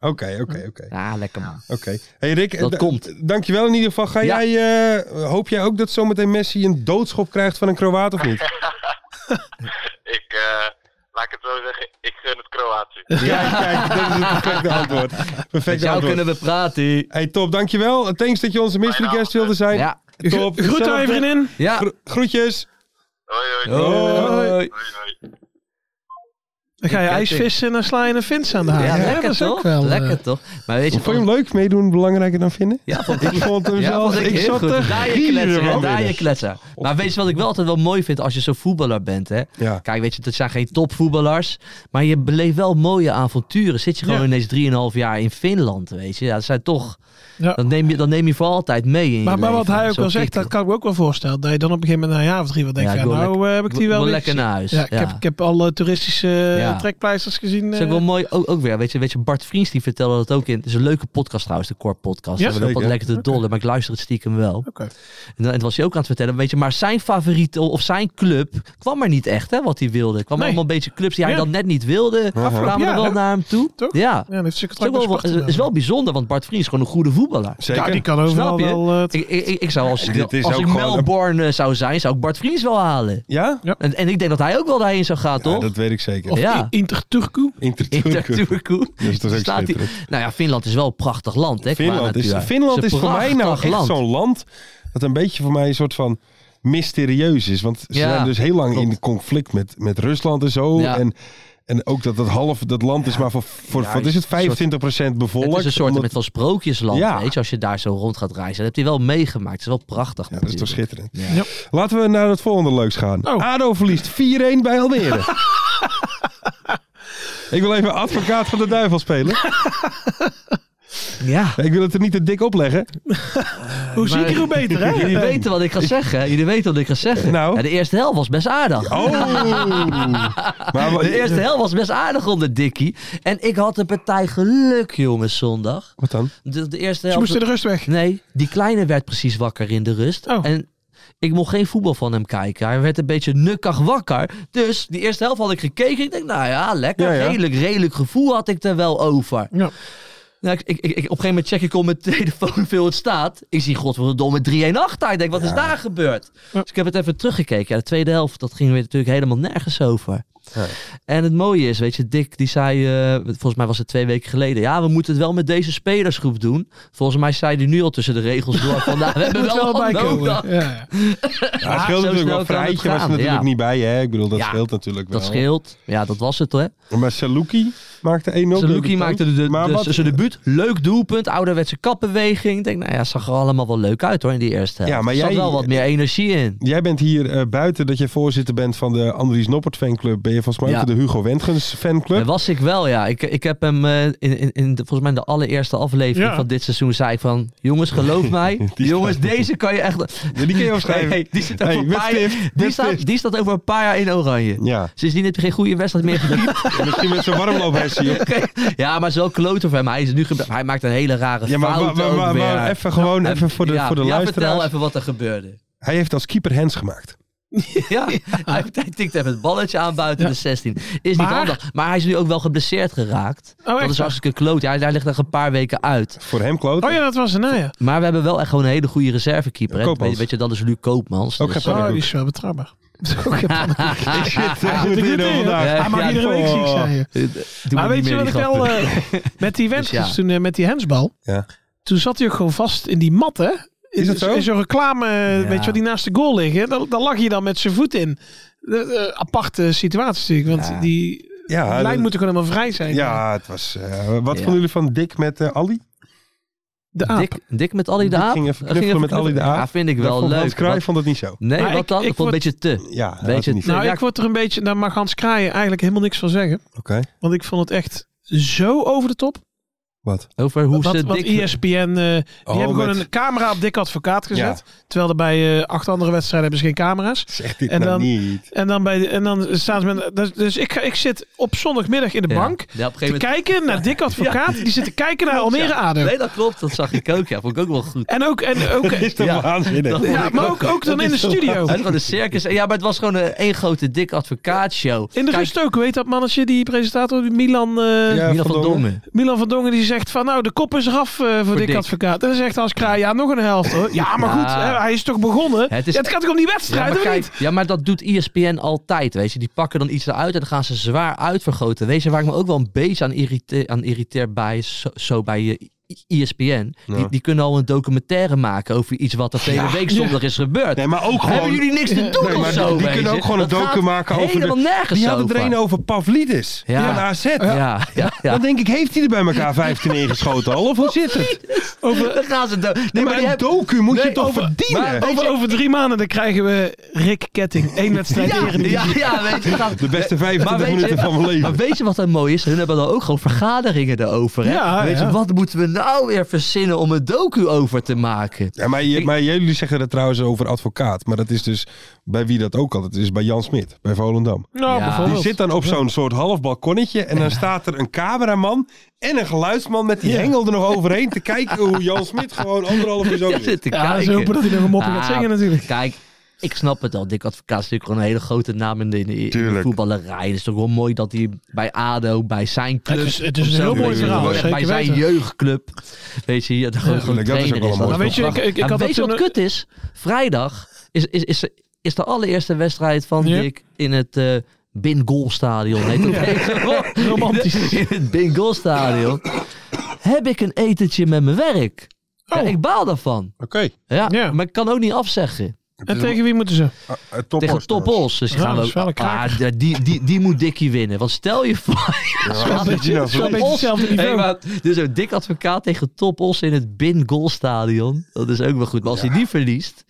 C: Oké, oké, oké.
D: Ja, lekker man.
C: Oké. Hey Rick,
D: Dat
C: da-
D: komt.
C: Dankjewel in ieder geval. Ga
D: Ja.
C: jij, eh, hoop jij ook dat zometeen Messi een doodschop krijgt van een Kroaat of niet?
F: Ik, eh, laat ik het zo zeggen, ik gun het Kroatië.
C: Ja, kijk, dat is het perfecte antwoord.
D: Met
C: Perfecte
D: jou
C: antwoord.
D: kunnen we praten.
C: Hey, top, dankjewel. Thanks dat je onze mystery
F: Fijne
C: guest wilde zijn.
D: Ja,
C: Top.
E: Goed aan je
C: Gezellig.
E: vriendin.
D: ja.
C: Gro- groetjes.
F: Hoi, hoi.
C: Oh.
D: Hoi.
F: Hoi, hoi.
E: Dan ga je
D: Ik ken
E: ijsvissen en dan sla je een vins aan de haak.
D: Ja,
E: Ja, dat
D: lekker
E: is
D: toch?
E: ook wel, eh,
D: lekker toch? Maar weet je,
C: Vond je hem leuk meedoen belangrijker dan vinden?
D: ja, vond
C: Ik vond hem
D: ja,
C: zelf.
D: vond ik,
C: ik
D: heel
C: zat
D: goed.
C: te
D: Daar je
C: gieren,
D: kletsen, hè,
C: man.
D: daar je kletsen. Maar weet je wat ik wel altijd wel mooi vind als je zo'n voetballer bent, hè?
C: Ja.
D: Kijk, weet je, dat zijn geen topvoetballers, maar je beleeft wel mooie avonturen. Zit je gewoon ineens 3,5 jaar in Finland, weet je? Ja, dat zijn toch...
E: Ja.
D: Dat, neem je, dat neem je voor altijd mee in je
E: Maar, maar wat
D: leven.
E: hij ook
D: Zo'n
E: wel zegt,
D: kikker.
E: dat kan ik me ook wel voorstellen. Dat je dan op een gegeven moment na een jaar of drie wel denkt,
D: Ja,
E: ja,
D: ik wil
E: nou eh, heb ik die
D: Wil
E: wel weer
D: lekker
E: gezien.
D: naar huis.
E: Ja, ik, Heb, ik heb alle toeristische eh,
D: Ja. Ja.
E: trekpleisters gezien.
D: Dat
E: eh,
D: is ook wel mooi, ook, ook weer. Weet je, weet je, Bart Vriends die vertelde dat ook in. Het is een leuke podcast trouwens, de Core Podcast.
E: Ja,
D: Ja, we lopen
C: zeker.
D: wat lekker te dollen, maar ik luister het stiekem wel.
E: Oké.
D: En, dan, en toen was hij ook aan het vertellen, weet je, maar zijn favoriet of zijn club kwam er niet echt, hè, wat hij wilde. Er kwam
E: Nee.
D: allemaal een beetje clubs die hij
E: Ja.
D: dan net niet wilde. Kwamen er
E: jaar,
D: wel
E: hè?
D: naar hem toe.
E: Toch?
D: Ja.
E: Ja, dan heeft ze
D: Het is, ook wel, is wel bijzonder, want Bart Vriends is gewoon een goede voetballer.
E: Ja,
C: Zeker.
E: die kan overal
D: Snap je?
E: wel... eh, het-
D: Ik, ik, ik- ik zou als,
C: Dit is
D: als
C: ook
D: ik
C: gewoon een-
D: Melbourne eh, zou zijn, zou ik Bart Vriends wel halen.
C: Ja?
D: En, en ik denk dat hij ook wel daarheen zou gaan,
C: Ja,
D: toch?
C: dat weet ik zeker.
D: Of- ja.
E: I- Inter Turku.
C: Inter
D: Inter
C: Turku.
D: Turku.
C: Dat is toch ook
D: Staat die-
C: schitterend.
D: Nou ja, Finland is wel een prachtig land, hè? qua
C: Finland is,
D: natuur.
C: Finland
D: Het
C: is
D: een
C: voor mij nou
D: prachtig
C: echt
D: land.
C: zo'n land dat een beetje voor mij een soort van mysterieus is. Want ze
D: Ja,
C: zijn dus heel lang
D: klopt.
C: in conflict met, met Rusland en zo.
D: Ja.
C: En, en ook dat dat half dat land is maar voor, voor
D: Ja,
C: wat is het,
D: een soort-
C: 25% bevolkt.
D: Het is een soort
C: Omdat-
D: met van sprookjesland,
C: Ja.
D: weet je, als je daar zo rond gaat reizen. Dat heb je wel meegemaakt. Het is wel prachtig.
C: ja, dat is toch
D: natuurlijk.
C: schitterend.
D: Ja.
E: Ja.
C: Laten we naar het volgende leuks gaan.
E: Oh.
C: ADO verliest 4-1 bij Almere. Ik wil even advocaat van de duivel spelen.
D: Ja.
C: Ik wil het er niet te dik opleggen.
E: Hoe
D: maar-
E: zieker, hoe beter, hè?
D: Jullie weten wat ik ga zeggen. hè? Jullie weten wat ik ga zeggen.
C: Nou.
D: Ja, de eerste hel was best aardig.
C: Oh! maar wat-
D: De eerste hel was best aardig onder Dikkie. En ik had een partij geluk, jongens, zondag.
C: Wat dan?
D: De, de eerste
E: Ze
D: helft.
E: moesten de rust weg.
D: Nee, die kleine werd precies wakker in de rust.
E: Oh.
D: En ik mocht geen voetbal van hem kijken. Hij werd een beetje nukkig wakker. Dus die eerste helft had ik gekeken. Ik denk, nou ja, lekker.
C: Ja, ja.
D: Redelijk, redelijk gevoel had ik er wel over.
E: Ja.
D: Nou, ik, ik, ik, op een gegeven moment check ik op mijn telefoon hoeveel het staat. Ik zie godverdomme 3-1 achter. Ik denk, wat is daar gebeurd?
E: Ja.
D: Dus ik heb het even teruggekeken. Ja, de tweede helft, dat ging weer natuurlijk helemaal nergens over. En het mooie is, weet je, Dick die zei, eh, volgens mij was het twee weken geleden, ja, we moeten het wel met deze spelersgroep doen. Volgens mij zei hij nu al tussen de regels door van, nou, we hebben
E: Moet
D: wel
E: wel
D: wat
E: bij
D: nodig.
E: komen. Ja, ja.
C: Ja, het scheelt
D: zo
C: natuurlijk wel.
D: snel kan het
C: Vrijtje was
D: gaan,
C: natuurlijk
D: ja.
C: niet bij, hè? Ik bedoel, dat
D: Ja,
C: scheelt natuurlijk wel.
D: Dat scheelt. Ja, dat was het, hè.
C: Maar Saluki maakte 1-0.
D: Saluki maakte de, de,
C: Maar
D: de-
C: wat-
D: zijn debuut. Leuk doelpunt. Ouderwetse kapbeweging. Ik denk, nou ja, zag er allemaal wel leuk uit hoor in die eerste helft.
C: Ja, maar
D: er zat
C: jij-
D: wel wat meer energie in.
C: Jij bent hier eh, buiten dat je voorzitter bent van de Andries Noppert fanclub. Ben je volgens mij ook
D: Ja.
C: van de Hugo Wendgens fanclub?
D: Dat was ik wel, ja. Ik, ik heb hem eh, in, in, in de- volgens mij in de allereerste aflevering
E: Ja.
D: van dit seizoen zei ik van... Jongens, geloof mij.
C: Die
D: jongens, deze kan je echt...
C: Ja, die kun je opschrijven.
D: Nee, die, zit
C: Hey,
D: over een
C: met
D: paar
C: stift,
D: jaar-
C: met
D: die, staat,
C: stift.
D: die staat over een paar jaar in oranje.
C: Ja.
D: Sindsdien heb je geen goede wedstrijd meer gedaan.
C: Ja, misschien met zo'n warmloophessie. op.
D: ja, maar het is wel kloten voor hem. Hij, is nu gebra- hij maakt een hele rare
C: Ja, maar,
D: fout
C: maar, maar,
D: ook
C: maar-
D: weer.
C: maar even gewoon even voor de,
D: ja,
C: voor de
D: ja,
C: luisteraars.
D: vertel even wat er gebeurde.
C: Hij heeft als keeper hands gemaakt.
D: ja, hij, hij tikt even het balletje aan buiten
E: Ja.
D: de 16. Is
E: Maar-
D: niet handig. Maar hij is nu ook wel geblesseerd geraakt.
E: Oh,
D: dat
E: echt?
D: is hartstikke kloot. Ja, hij ligt er een paar weken uit.
C: Voor hem kloot.
E: Oh ja, dat was een nou ja.
D: Maar we hebben wel echt gewoon een hele goede reservekeeper. hè.
C: Koopmans.
D: weet, weet je, dat is Luc Koopmans.
C: Ook
D: Dus,
C: geen
D: eh,
E: Oh,
C: pannenkoek.
E: die is wel betrouwbaar. Ook geen pannenkoek.
C: Ja, goed in, hoor, vandaag. Oh.
D: Ja,
E: Hij mag
D: ja,
E: iedere week ziek zijn. joh.
D: doe
E: Maar
D: me
E: weet
D: niet
E: je
D: meer
E: wat ik
D: die
E: wel...
D: grappen.
E: eh, met die wens,
D: Dus ja.
E: toen eh, met die hensbal,
C: Ja.
E: toen zat hij ook gewoon vast in die mat, hè? In-
C: Is dat zo?
E: In zo'n reclame, eh,
D: Ja.
E: weet je wel, die naast de goal liggen. Daar, daar lag je dan met zijn voet in. Eh, eh, aparte situatie natuurlijk, want
D: Ja.
E: die
C: Ja,
E: lijn
C: dat-
E: moet er gewoon helemaal vrij zijn.
C: ja, het was... eh, wat
D: Ja.
C: vonden jullie van Dick met eh, Ali?
E: de aap.
D: Dik, dik met Ali de
C: Dik
D: Aap?
C: ging even knuffelen met Ali de Aap.
D: Ja, vind ik
C: Dat
D: wel
C: vond Hans
D: leuk.
C: Cruijff
D: Wat-
C: vond het niet zo.
D: Nee,
E: Maar
D: wat
E: ik-
D: dan?
E: ik
D: Ik vond het een beetje te.
C: Ja, dat
D: Weet
C: was
D: je,
C: niet.
E: Nou,
D: Ja,
E: ik word er een beetje, daar mag Hans Kraaien eigenlijk helemaal niks van zeggen.
C: Oké,
D: nou?
E: Want ik vond het echt zo over de top.
C: wat?
D: Over hoe
E: Wat,
D: ze
E: wat
D: dik...
E: ESPN, eh, die
C: Oh,
E: hebben gewoon
C: met-
E: een camera op Dick Advocaat gezet. Terwijl er bij eh, acht andere wedstrijden hebben ze geen camera's.
C: Zegt dit
E: En
C: nou
E: dan-
C: niet.
E: En dan, bij de- en dan staan ze met... Dus, dus ik, ga, ik zit op zondagmiddag in de
D: Ja.
E: bank
D: Ja, op een
E: te
D: gegeven
E: kijken naar Dick Advocaat. Die zit te kijken naar Almere
D: moment...
E: Ado.
D: Nee, dat klopt. Dat zag ik ook. Ja, vond ik ook wel goed.
E: En ook... En ook
C: Is toch
D: Ja.
C: waanzinnig?
D: Dat-
E: ja, maar ook, ook dan in de studio.
D: Het was gewoon een circus. Ja, maar het was gewoon een één grote dik advocaatshow.
E: In de
D: Kijk,
E: rust ook, weet dat mannetje, die presentator, die Milan, eh,
C: Ja.
D: Milan van
C: Van Dongen.
D: Dongen.
E: Milan van Dongen, die zegt van nou, de kop is eraf eh, voor, Dick
D: Dick.
E: Advocaat. En dan zegt Hans Kraai, ja, nog een helft hoor. Ja, maar
D: Ja.
E: goed, hè, hij is toch begonnen?
D: Het is-
E: Ja, het gaat toch om die
D: Ja
E: wedstrijd,
D: maar,
E: of
D: kijk,
E: niet?
D: ja, maar dat doet E ESPN altijd, weet je. Die pakken dan iets eruit en dan gaan ze zwaar uitvergroten. Weet je, waar ik me ook wel een beetje aan irriteer, aan irriteer bij, is zo, zo bij eh, I- ESPN. Die, die kunnen al een documentaire maken over iets wat er vele week zondag is gebeurd.
C: Nee, maar ook gewoon...
D: Hebben jullie niks te doen
C: Nee,
D: of
C: maar
D: zo,
C: die, die
D: weet
C: kunnen
D: je?
C: ook gewoon een
D: Dat
C: docu
D: gaat
C: maken over
D: helemaal
C: de...
D: nergens
C: Die hadden
D: over.
C: er een over Pavlidis.
D: Ja.
C: Van AZ.
D: Ja, ja, ja.
C: Dan denk ik, heeft hij er bij elkaar 15 ingeschoten al? Of hoe zit het?
D: Dan gaan ze... do- Nee,
C: Nee, maar
D: die
C: een
D: hebben-
C: docu moet je
D: Nee,
C: toch
D: over-
C: verdienen?
D: maar-
E: Over, over drie maanden dan krijgen we Rick Ketting. Eén wedstrijd
D: Ja,
E: Eredivisie.
D: ja, ja, weet je. gaat-
C: De beste
D: Maar
C: 25
D: weet je-
C: minuten van mijn
D: Maar
C: leven.
D: weet je wat dan mooi is? Hun hebben dan ook gewoon vergaderingen erover. Hè?
E: Ja,
D: weet je,
E: ja.
D: wat moeten we nou weer verzinnen om een docu over te maken?
C: Ja, maar, je-
D: Ik-
C: maar jullie zeggen dat trouwens over advocaat. Maar dat is dus bij wie dat ook altijd is. Bij Jan Smit, bij Volendam.
E: Nou,
D: Ja.
C: Die
E: bijvoorbeeld.
C: zit dan op zo'n soort half balkonnetje. En dan staat er een cameraman en een geluidsman met die hengel er nog overheen. Te kijken hoe Jan Smit gewoon anderhalf uur zo
D: Ja,
C: zit.
D: zit te
E: Ja, ze
D: kijken.
E: hopen dat hij nog een mopje gaat
D: Ah,
E: zingen natuurlijk.
D: Kijk, ik snap het al. Dick Advocaat is natuurlijk gewoon een hele grote naam in de, in de
C: Tuurlijk.
D: voetballerij. Het is toch wel mooi dat hij bij ADO, bij zijn club...
E: Het is- het is een
D: op zo'n
E: heel mooi
D: manier
E: verhaal,
D: wordt.
E: zeker
D: Bij zijn
E: weten.
D: jeugdclub. Weet je, dat gewoon
E: Ja,
D: gewoon
C: tuurlijk, dat is
D: trainer
C: ook wel
D: is.
C: een
E: Maar
C: mooi
E: weet je, ik, ik, ik
D: En
E: had
D: weet je
E: dat
D: wat
E: toen-
D: kut is? Vrijdag is, is, is, is de allereerste wedstrijd van
E: Ja.
D: Dick in het eh Bin Gol Stadion. Heet dat tegenwoordig.
E: Romantisch.
D: In het Bin Gol Stadion heb ik een etentje met mijn werk. Ja,
E: Oh.
D: ik baal daarvan.
C: Oké.
D: Ja,
E: Ja.
D: maar ik kan ook niet afzeggen.
E: En tegen wie moeten ze?
C: Ah, eh, Top
D: Tegen
C: Os trouwens.
D: Topos. Dus die
E: Ja,
D: gaan we
E: dat
D: ook-
E: is wel een kraker.
D: ah, die- die, die, die moet Dikkie winnen. Want stel je voor...
C: Ja, dat is nou
E: Wel een
C: zo.
E: beetje hetzelfde
D: Hey,
E: niveau.
D: maar, dus een dik advocaat tegen Top Os in het Bin Gol Stadion. Dat is ook wel goed. Maar als hij die verliest,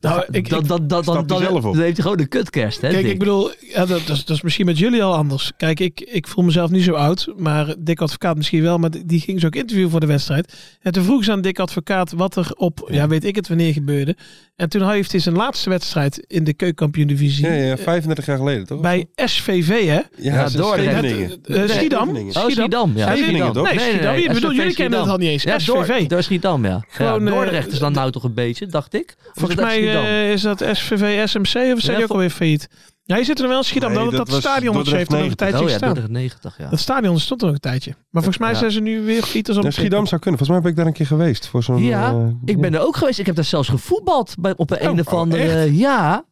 D: dan,
E: Nou, ik-
D: dan,
E: ik-
D: dan, dan, dan,
C: Stapt hij zelf op.
D: dan heeft hij gewoon een kutkerst. Hè,
E: Kijk,
D: Dick?
E: ik bedoel, ja, dat, dat, is, dat is misschien met jullie al anders. Kijk, ik, ik voel mezelf niet zo oud, maar Dick Advocaat misschien wel. Maar die- die ging ze ook interviewen voor de wedstrijd. En toen vroeg ze aan Dick Advocaat wat er op, ja, weet ik het wanneer gebeurde. En toen heeft hij zijn laatste wedstrijd in de keukenkampioen-divisie
C: Ja, ja, 35 jaar geleden toch?
E: bij SVV, hè?
D: Ja,
C: ze-
D: Dordrecht.
C: Scheveningen.
E: Eh, eh, Schiedam.
C: Scheveningen.
D: Oh, Schiedam. Ja.
C: Scheveningen, toch?
E: Nee, Schiedam. Je bedoelt,
D: SVV
E: jullie kennen het al niet eens.
D: Ja,
E: SVV.
D: Dor- Door Schiedam, ja.
E: Gewoon,
D: ja
E: eh,
D: Dordrecht is dan nou toch een beetje, dacht ik. Of is
E: Volgens
D: dat
E: mij
D: Schiedam?
E: eh, is dat SVV SMC of zijn
D: Ja,
E: die ook
D: vol-
E: alweer failliet? Ja, je zit er wel in Schiedam.
C: Nee,
E: dat,
C: dat
E: dat,
C: was
E: stadion wat ze heeft er nog een
C: Dordrecht
E: tijdje
D: oh ja,
E: gestaan.
D: Dordrecht 90, ja.
E: Dat stadion stond er nog een tijdje. Maar volgens mij
D: Ja.
E: zijn ze nu weer failliet. Als op
C: Ja, Schiedam zou kunnen. Volgens mij ben ik daar een keer geweest. Voor zo'n,
D: Ja,
C: eh,
D: Ik ben er ook geweest. Ik heb daar zelfs gevoetbald bij, op een,
C: Oh,
D: een of
C: oh,
D: andere... ja,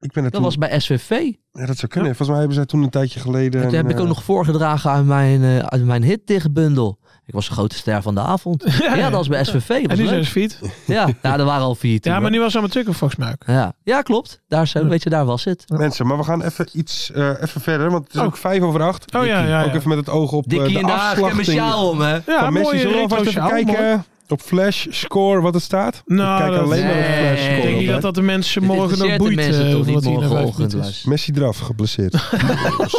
C: ik ben er
D: dat
C: toen,
D: was bij SVV.
C: ja, dat zou kunnen. Volgens mij hebben zij toen een tijdje geleden...
D: En toen heb
C: een,
D: ik ook
C: eh,
D: nog voorgedragen aan mijn, eh uit mijn hitdichtbundel. Ik was de grote ster van de avond. Ja,
E: ja.
D: dat was bij SVV.
E: En
D: Was
E: nu zijn
D: leuk.
E: ze failliet.
D: Ja, ja, er waren al vier toen,
E: Ja, maar
D: hoor.
E: nu was Amateurcup volgens mij ook.
D: Ja. ja, klopt. Daar, zo, weet je, daar was het.
C: Mensen, maar we gaan even iets eh, even verder, want het is
E: Oh.
C: ook vijf over acht.
E: Oh, ja, ja, ja.
C: Ook even met het oog op eh,
D: Dikkie
C: de
D: in de Haag, ik heb een
C: afslachting
D: sjaal om, hè.
E: Ja,
C: van Messi.
E: mooie
C: Zullen we
E: retro
C: alvast even
E: sjaal,
C: kijken
E: mooi.
C: op Flash Score wat het staat?
E: Nou,
C: ik kijk
E: dat-
C: alleen maar op
D: Nee,
C: Flash
D: ik
C: Score.
E: Ik denk niet
C: altijd.
E: dat dat de mensen
D: Dit
E: morgen nog
D: interesseert de
E: boeit.
D: mensen
E: eh,
D: toch
E: hoeveel
D: niet
E: het hier nog
D: morgenochtend
E: uitgevoerd is.
D: was.
C: Messi eraf, geblesseerd.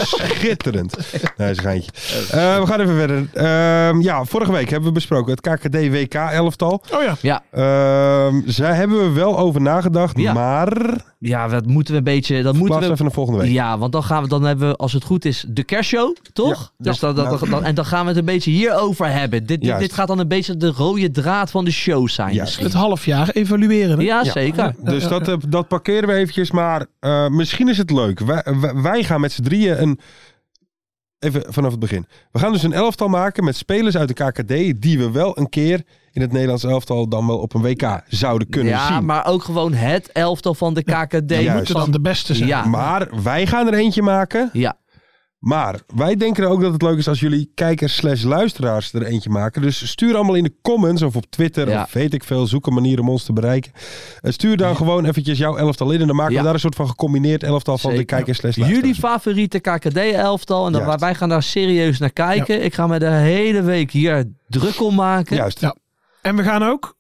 C: Schitterend. Nee, is een geintje. Eh, we gaan even verder. Ehm, ja, vorige week hebben we besproken het KKD-WK-elftal.
E: Oh ja.
C: Ehm, zij hebben we wel over nagedacht,
D: Ja.
C: maar...
D: Ja, dat moeten we een beetje... Dat moeten
C: Plaats
D: we...
C: even naar volgende week.
D: Ja, want dan, gaan we, dan hebben we, als het goed is, de kerstshow, toch?
C: Ja.
D: Dus
C: Ja.
D: dan, dan, dan- en dan gaan we het een beetje hierover hebben. Dit, dit,
C: Juist.
D: dit gaat dan een beetje de rode draad van de show zijn.
C: Juist.
D: misschien.
E: Het halfjaar evalueren. hè?
D: Ja, zeker.
C: Dus dat, eh, dat parkeren we eventjes. Maar eh, misschien is het leuk. Wij, wij- wij gaan met z'n drieën een... Even vanaf het begin. We gaan dus een elftal maken met spelers uit de KKD... die we wel een keer in het Nederlands elftal dan wel op een WK zouden kunnen
D: ja,
C: zien.
D: maar ook gewoon het elftal van de KKD.
C: Ja,
E: Moeten dan de beste zijn.
D: Ja.
C: Maar wij gaan er eentje maken.
D: Ja.
C: Maar wij denken ook dat het leuk is als jullie kijkers slash luisteraars er eentje maken. Dus stuur allemaal in de comments of op Twitter
D: Ja.
C: of weet ik veel. Zoek een manier om ons te bereiken. Eh, Stuur dan gewoon eventjes jouw elftal in. En dan maken
D: Ja.
C: we daar een soort van gecombineerd elftal van de
D: Zeker.
C: kijkers slash
D: Jullie
C: luisteraars.
D: favoriete KKD-elftal. En dan,
C: Juist.
D: wij gaan daar serieus naar kijken. Ik ga me de hele week hier druk om maken.
C: Juist.
E: Ja. En we gaan ook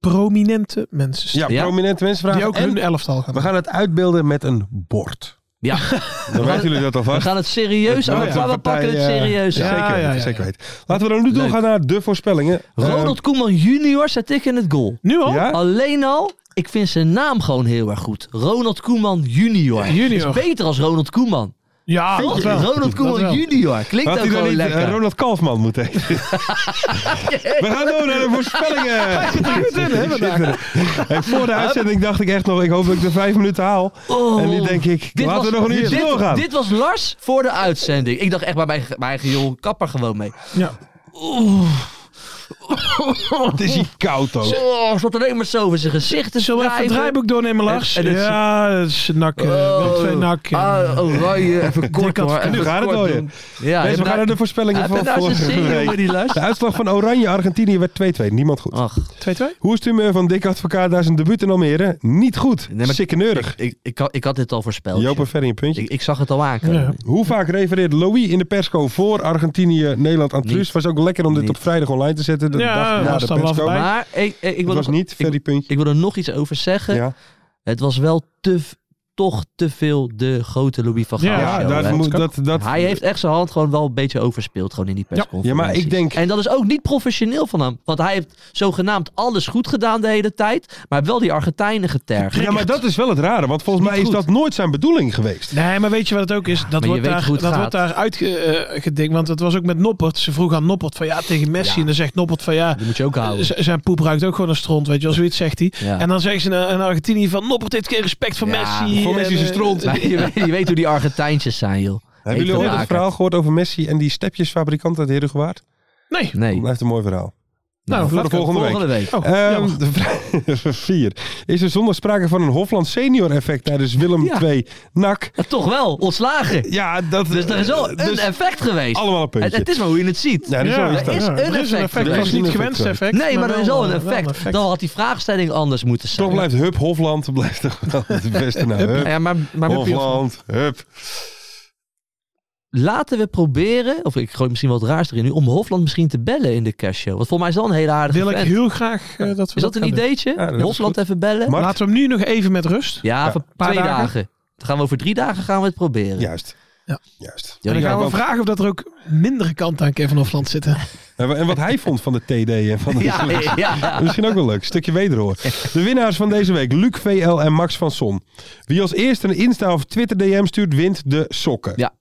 E: prominente mensen
C: Ja,
E: stellen.
D: Ja.
C: prominente mensen
E: Die
C: vragen.
E: ook hun
C: en
E: elftal gaan
C: we gaan het uitbeelden met een bord.
D: Ja.
C: Dan weten jullie dat
D: We
C: alvast.
D: gaan dus het serieus
C: Dat
D: aan.
C: wordt een
D: we pakken het
C: partij, eh,
D: serieus aan.
E: Ja,
C: Zeker weten,
E: ja, ja, ja.
C: zeker weten. Laten we dan nu
D: Leuk.
C: doorgaan naar de voorspellingen.
D: Ronald Koeman junior zet ik in het goal.
E: Nu al?
C: Eh, ja?
D: Alleen al, ik vind zijn naam gewoon heel erg goed. Ronald Koeman junior.
E: Junior.
D: Is beter als Ronald Koeman.
E: Ja, dat wel.
D: Ronald
E: Dat wel.
D: Koeman junior. Klinkt
C: Had
D: ook
C: hij dan
D: gewoon
C: niet eh,
D: lekker.
C: Ronald Kalfman moeten heten? We gaan door naar de voorspellingen. Hey, voor de uitzending dacht ik echt nog, ik hoop dat ik de vijf minuten haal.
D: Oh.
C: En nu denk ik,
D: Dit
C: laten we
D: was-
C: nog een uurtje
D: dit,
C: doorgaan.
D: Dit was Lars voor de uitzending. Ik dacht echt bij mijn, mijn eigen Johan Kapper gewoon mee.
E: Ja.
C: het is hier koud ook.
D: Oh, zat alleen maar zo over zijn gezicht te
E: Zullen we even het
D: wrijven.
E: draaiboek doornemen, Lars?
D: En- en het- Oh.
E: ja, dat is nak. eh, Willem twee nak. eh.
D: Ah, oranje, even kort
E: had-
D: hoor.
C: En nu
D: even
C: gaat het
D: kort
C: alweer.
D: doen. Ja,
C: Mensen, we gaan naar de voorspellingen van vorige week. De uitslag van Oranje-Argentinië werd 2-2. Niemand goed.
D: Ach,
E: 2-2?
C: Hoe is het humeur van Dick Advocaat daar zijn debuut in Almere? Niet goed.
D: Nee, maar-
C: Sikke neurig.
D: ik, ik, had- ik had dit al voorspeld.
C: Joop en Ferry een puntje.
D: Ik, ik zag het al aankomen.
E: Ja.
C: Hoe vaak refereert Louis in de persco voor Argentinië, Nederland aan Truus?
D: Niet.
C: Was ook lekker om dit
D: Niet.
C: op vrijdag online te zetten. De
E: Ja,
C: dag na
E: was
C: de
E: dan wel
C: persco.
E: voorbij.
D: Maar ik, ik, ik
C: Het
D: wil
C: was
D: nog-
C: niet,
D: ik,
C: Ferry puntje.
D: ik wil er nog iets over zeggen.
C: Ja.
D: Het was wel te, v- toch te veel de grote Louis van Gaal
E: Ja,
C: Ja,
D: show,
C: dat
D: hè.
C: moet, dat, dat,
D: Hij heeft echt zijn hand gewoon wel een beetje overspeeld gewoon in die persconferentie.
C: Ja, maar ik denk-
D: En dat is ook niet professioneel van hem. Want hij heeft zogenaamd alles goed gedaan de hele tijd. Maar wel die Argentijnen getergd.
C: ja, maar dat is wel het rare. Want volgens mij is
D: niet
C: dat nooit zijn bedoeling geweest.
E: Nee, maar weet je wat het ook is? Dat,
D: je
E: wordt
D: weet
E: daar,
D: hoe het
E: dat
D: gaat.
E: wordt daar uitgedikt. want het was ook met Noppert. Ze vroeg aan Noppert van ja tegen Messi.
D: Ja.
E: En dan zegt Noppert van ja,
D: Die moet je ook houden.
E: z- zijn poep ruikt ook gewoon een stront. Weet je wel, zoiets zegt hij.
D: Ja.
E: En dan zeggen ze in, in Argentinië van Noppert dit keer respect voor
D: Ja,
E: Messi.
C: voor Messi
E: en,
C: zijn
E: eh,
C: stront.
D: Maar je, weet, je weet hoe die Argentijntjes zijn, joh.
C: Hebben jullie
D: Eten
C: ooit het
D: maken.
C: verhaal gehoord over Messi en die stepjesfabrikant uit Herengewaard?
E: Nee.
D: Nee.
C: Blijft een mooi verhaal.
E: Nou,
C: voor de volgende week.
D: week.
E: Oh,
C: Ehm,
E: jammer.
C: de vraag 4. Is er zonder sprake van een Hofland senior effect tijdens Willem
D: Ja.
C: II NAC?
D: Ja, toch wel, ontslagen.
C: Ja, dat
D: Dus er is wel een
C: dus
D: effect geweest.
C: allemaal een
D: Het,
C: puntje.
D: het is maar hoe je het ziet.
C: ja, dus
E: Ja.
C: zo is
D: Er
C: dat.
D: is een
E: er
D: effect
E: Het
C: geweest.
E: was niet
C: Een
E: het gewenste
C: effect
E: effect.
D: nee, maar er is
E: wel,
D: wel een
E: eh, wel
D: effect. Dan had die vraagstelling anders moeten zijn.
C: Toch blijft Hup Hofland blijft toch wel het beste naam.
D: Nou
C: Hup
D: ja, maar, maar
C: Hofland, Hup.
D: laten we proberen, of ik gooi misschien wel het raarste erin nu, om Hofland misschien te bellen in de castshow. Want voor mij is dat een hele aardige
E: Wil ik
D: vent.
E: heel graag eh, dat we
D: Is dat een
E: gaan doen.
D: ideetje?
C: Ja, dat is
D: Hofland even bellen?
C: Mart?
E: Laten we hem nu nog even met rust.
D: ja, voor
E: paar
D: twee dagen.
E: dagen.
D: Dan gaan we over drie dagen gaan we het proberen.
C: Juist.
E: Ja.
C: Juist.
D: Ja,
E: en dan
D: ja,
E: gaan we
C: want-
E: vragen of dat er ook mindere kanten aan Kevin Hofland zitten.
C: En wa- en wat hij vond van de TD en van de
D: Ja, ja.
C: Misschien ook wel leuk. Stukje wederhoor. De winnaars van deze week, Luc VL en Max van Son. Wie als eerste een Insta of Twitter DM stuurt, wint de sokken.
D: Ja.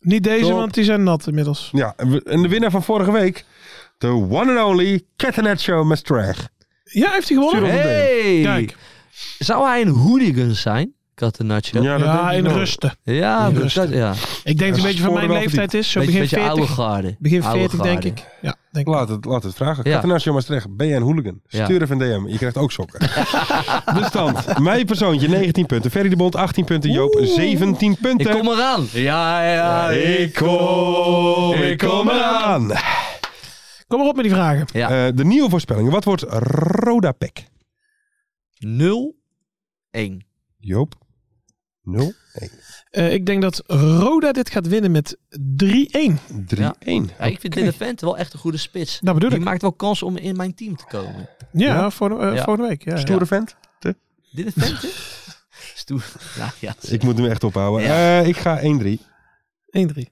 E: Niet deze,
C: Top.
E: want die zijn nat inmiddels.
C: Ja, en we- en de winnaar van vorige week, de one and only Catternet Show Maastricht.
E: Ja, heeft hij gewonnen?
C: Stuur ons een
D: Hey!
E: Kijk.
D: Zou hij een hooligan zijn? Catenaccio. Ja,
E: Ja,
C: denk ik
E: in
C: wel.
E: rusten.
D: ja,
E: In
D: dat-
E: rusten.
D: ja.
E: Ik denk dat
C: Ja,
E: hij een beetje van
C: sporen
E: mijn
C: wel
E: leeftijd is. Zo
D: Beetje,
E: begin
D: beetje oude
E: 40.
D: garde.
E: Begin
D: Oude
E: 40 denk
D: garde.
E: ik. Ja, denk ik.
C: Laat het, laat het vragen.
D: Ja.
C: Ja. Show Maastricht, ben jij een hooligan?
D: Ja.
C: Stuur even een DM, je krijgt ook sokken. de stand, mijn persoontje 19 punten, Ferry de Bond 18 punten, Joop 17
D: Ik
C: punten.
D: kom eraan. Ja, ja,
C: ik kom, ik kom eraan.
E: Kom maar op met die vragen.
D: Ja.
C: Eh, de nieuwe voorspellingen, wat wordt Roda Pek?
D: 0 1.
C: Joop, 0, 1,
E: Eh, ik denk dat Roda dit gaat winnen met 3-1.
C: 3,
D: Ja.
C: 1.
D: Ja, ik vind Dylan Vente wel echt een goede spits.
E: Dat bedoel
D: Die
E: ik.
D: maakt wel kans om in mijn team te komen.
E: Ja, Volgende, eh,
D: Ja.
E: volgende week. Ja,
C: Stoere vent.
D: Dylan Vente? Stoer. Ja, ja.
C: Ik moet hem echt ophouden. Eh, ik ga 1-3.
E: 1-3.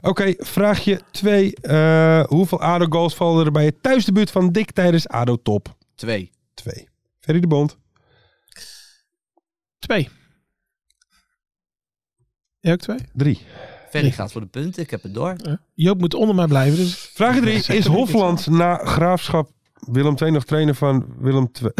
C: Oké, vraagje 2. hoeveel ADO-goals vallen er bij het thuisdebuut van Dick tijdens ADO-top?
D: 2.
C: 2. Ferry de Bond.
E: 2. Jij ook 2?
C: 3.
D: Ferry gaat voor de punten. Ik heb het door.
E: Joop moet onder mij blijven. Dus...
C: Vraag 3. Is Hofland na graafschap Willem II nog trainer van Willem II?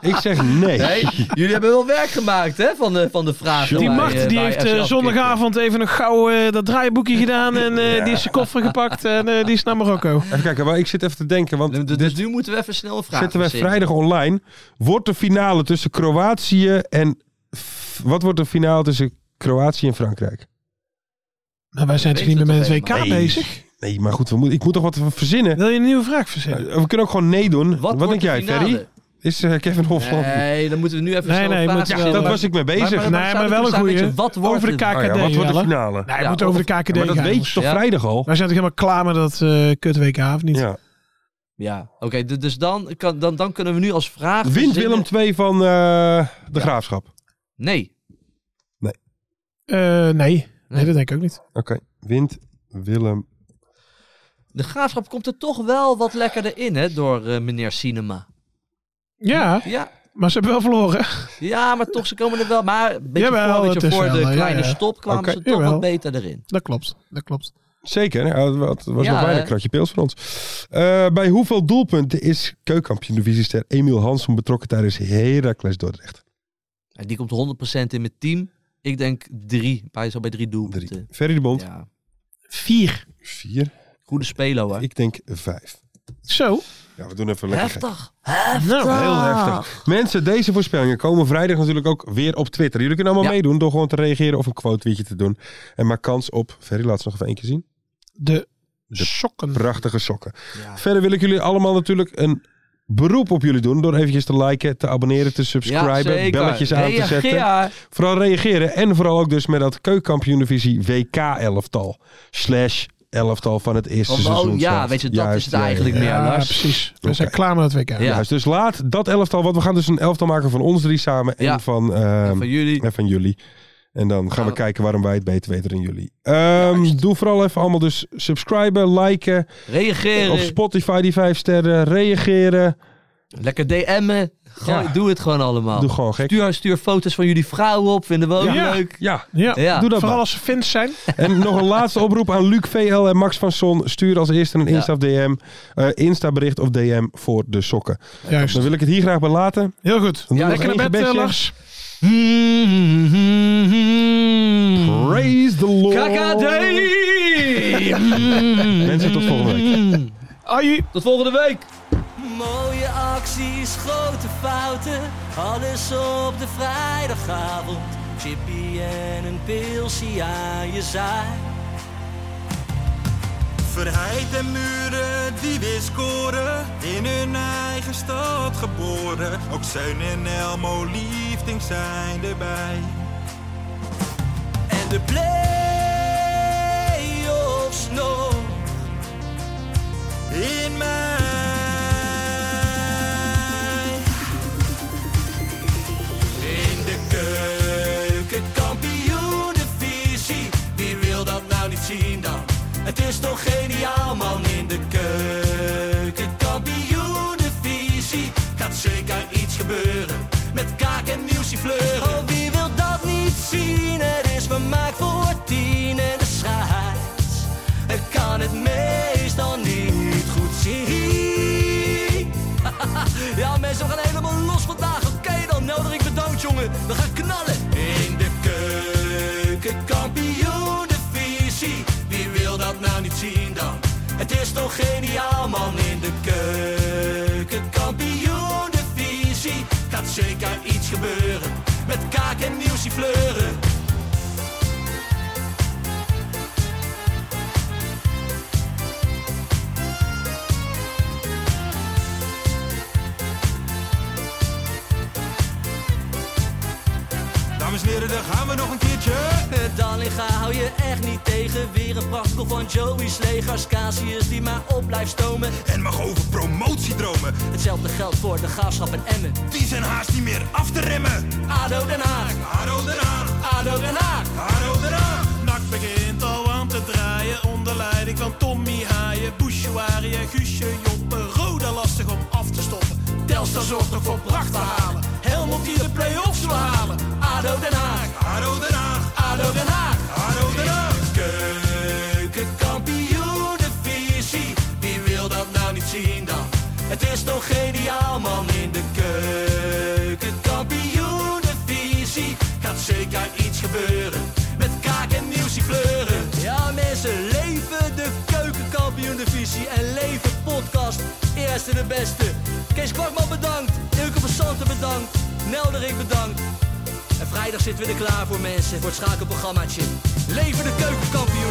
C: ik zeg nee.
D: jullie hebben wel werk gemaakt hè, van, de, van de vragen.
E: Die macht die heeft eh, zondagavond even nog gauw eh, dat draaiboekje gedaan. En eh, die is zijn koffer gepakt en eh, die is naar Marokko.
C: Even kijken, maar ik zit even te denken, want
D: Dus, dus nu moeten we even snel een vraag
C: zetten wij
D: verzinnen.
C: vrijdag online. Wordt de finale tussen Kroatië en... F- Wat wordt de finale tussen Kroatië en Frankrijk?
E: Maar Nou, wij zijn toch niet meer met het WK
D: Nee.
E: bezig?
C: Nee, maar goed, we moeten. ik moet toch wat verzinnen. Eh,
E: Wil je een nieuwe vraag verzinnen?
C: We kunnen ook gewoon nee doen. Wat,
D: wordt
C: denk
D: de
C: jij,
D: finale?
C: Ferry? Is eh, Kevin Hofland?
D: Nee, dan moeten we nu even
E: Nee,
D: snel
E: nee,
D: een vraag
E: moet-
C: ja,
E: wel,
C: dat
E: maar-
C: was ik mee bezig.
D: maar-
C: Nou
E: nee,
D: zou
E: maar
D: ik
E: wel
D: dus
E: een
D: aan
E: goeie.
D: met je, Oh, wat wordt
E: Over de
D: het?
E: KKD.
C: ja, wat wordt de
E: wel, hè?
C: finale?
E: Nee, we
D: Ja,
E: moeten over de
D: of-
E: KKD
C: maar dat
E: gaan,
C: weet
E: jongens.
C: je
D: Ja.
C: toch vrijdag al?
E: Wij zijn toch helemaal klaar met dat eh kut WK, of niet?
C: Ja.
D: Ja, oké, du- dus dan, kan, dan, dan kunnen we nu als vraag.
C: Wint
D: verzinnen-
C: Willem 2 van eh, de Graafschap?
D: Nee.
E: Eh, nee. nee, dat denk ik ook niet.
C: Oké. Wint Willem...
D: De graafschap komt er toch wel wat lekkerder in, hè, door eh, meneer Cinema.
E: Ja,
D: Ja,
E: maar ze hebben wel verloren.
D: ja, maar toch, ze komen er wel. Maar een beetje
E: Jawel,
D: voor, een beetje
E: het is
D: voor
E: wel,
D: de
E: ja,
D: kleine
E: ja.
D: stop kwamen
C: Oké,
D: ze toch
E: jawel.
D: wat beter erin.
E: Dat klopt, dat klopt.
C: Zeker, hè? Ja, dat was
D: Ja,
C: nog bijna
D: hè?
C: een kratje pils voor ons. Eh, bij hoeveel doelpunten is keukampioen-divisiester Emiel Hansen betrokken tijdens Heracles Dordrecht?
D: En die komt 100% in mijn team. Ik denk drie, bij, zo bij drie
C: Drie.
D: doelpunten.
C: Ferry de Bond?
D: Ja.
E: Vier.
C: Vier.
D: Goede speler hoor.
C: Ik denk vijf.
E: Zo.
C: Ja, we doen even lekker gek.
D: Heftig.
E: Nou,
C: Heel heftig. Mensen, deze voorspellingen komen vrijdag natuurlijk ook weer op Twitter. Jullie kunnen allemaal
D: Ja.
C: meedoen door gewoon te reageren of een quote tweetje te doen. En maak kans op, Ferry, laat ze nog even één keer zien.
E: De,
C: De
E: sokken.
C: Prachtige sokken. Verder wil ik jullie allemaal natuurlijk een beroep op jullie doen. Door eventjes te liken, te abonneren, te subscriben,
D: zeker.
C: belletjes aan te
D: Reageer.
C: zetten. Vooral reageren en vooral ook dus met dat keukenkampioen divisie WK elftal. Slash elftal van het eerste
H: Gewoon,
C: seizoen.
H: Oh, ja,
C: staat.
H: weet je, dat
C: Juist,
H: is het
C: ja, ja,
H: eigenlijk
C: ja.
H: meer, Lars.
E: precies. We
C: Oké.
E: zijn klaar met het WK.
H: Ja.
C: Juist, dus laat dat elftal, want we gaan dus een elftal maken van ons drie samen
H: Ja.
C: en van, ehm,
H: En van jullie.
C: en van jullie. En dan gaan we
H: Ja.
C: kijken waarom wij het beter weten dan jullie. Ehm, doe vooral even allemaal dus subscriben, liken. Op
H: Reageren.
C: Spotify die vijf sterren, reageren.
H: Lekker DM'en. Gewoon,
C: Ja.
H: Doe het gewoon allemaal.
C: Doe gewoon gek.
H: Oh. Stuur, stuur foto's van jullie vrouwen op. Vinden we ook
E: Ja.
H: leuk.
C: Ja,
E: Ja.
H: Ja.
C: doe dat
E: Vooral
C: maar.
E: als ze Fins zijn.
C: En nog een laatste oproep aan Luc VL en Max van Son. Stuur als eerste een
H: Ja.
C: Insta of DM, eh, Insta bericht of DM voor de sokken.
E: Juist.
C: Dan wil ik het hier graag bij laten.
E: Heel goed.
C: Dan doen we nog
E: Lekker naar
C: één
E: bed, eh,
C: gebedje.
E: Lars. Hmm,
C: Praise the Lord.
H: KKD!
C: Mensen, tot volgende week.
E: Ai.
H: Tot volgende week.
D: Mooie acties, grote fouten, alles op de vrijdagavond. Chippy en een pilsie aan je zaai.
B: Verheid en muren die weer scoren, in hun eigen stad geboren. Ook Zeun en Elmo Liefding zijn erbij.
D: En de play-offs nog.
B: In mij.
D: In de keuken, kampioenenvisie. Wie wil dat nou niet zien dan? Het is toch geniaal man in de keuken, kampioenenvisie. Gaat zeker iets gebeuren met kaak en muziek fleuren. Oh, wie wil dat niet zien? Het is vermaakt voor tien en de scheids. Ik kan het meestal niet goed zien. Ja, mensen, we gaan helemaal los vandaag. Oké, dan nodig ik bedankt, jongen. We gaan knallen. In de keuken, kampioen, de visie. Wie wil dat nou niet zien dan? Het is toch geniaal, man. In de keuken, kampioen, de visie. Gaat zeker iets gebeuren. Met kaak en nieuwsie fleuren.
B: Dames en heren, daar gaan we nog een keertje.
D: Dallinga Eh, hou je echt niet tegen. Weer een prachtkel van Joey's legers. Casius die maar op blijft stomen.
B: En mag over promotiedromen,
D: Hetzelfde geldt voor de graafschap en Emmen.
B: die zijn haast niet meer af te remmen.
D: ADO Den Haag,
B: Haro eraan,
D: ADO Den Haag.
B: haro eraan.
I: Nak begint al aan te draaien onder leiding van Tommy Haaien, Bouchouari en Guusje Joppen. Roda lastig om af te stoppen. Telstar zorgt nog voor pracht te halen. Helmond die de play-offs wil halen.
D: ADO Den Haag,
B: Haro eraan,
D: ADO Den Haag.
B: haro eraan.
D: Keukenkampioenenvisie, wie wil dat nou niet zien dan? Het is toch geniaal man in de keukenkampioenenvisie. Gaat zeker iets gebeuren, met kaak en nieuwsie fleuren. Ja mensen, leven de keukenkampioenenvisie en leven podcast. Eerste de beste. Kees Kwakman bedankt, Ilke van Santen bedankt, Nelderik bedankt. En vrijdag zitten we er klaar voor mensen, voor het schakelprogrammaatje. Leven de keukenkampioen!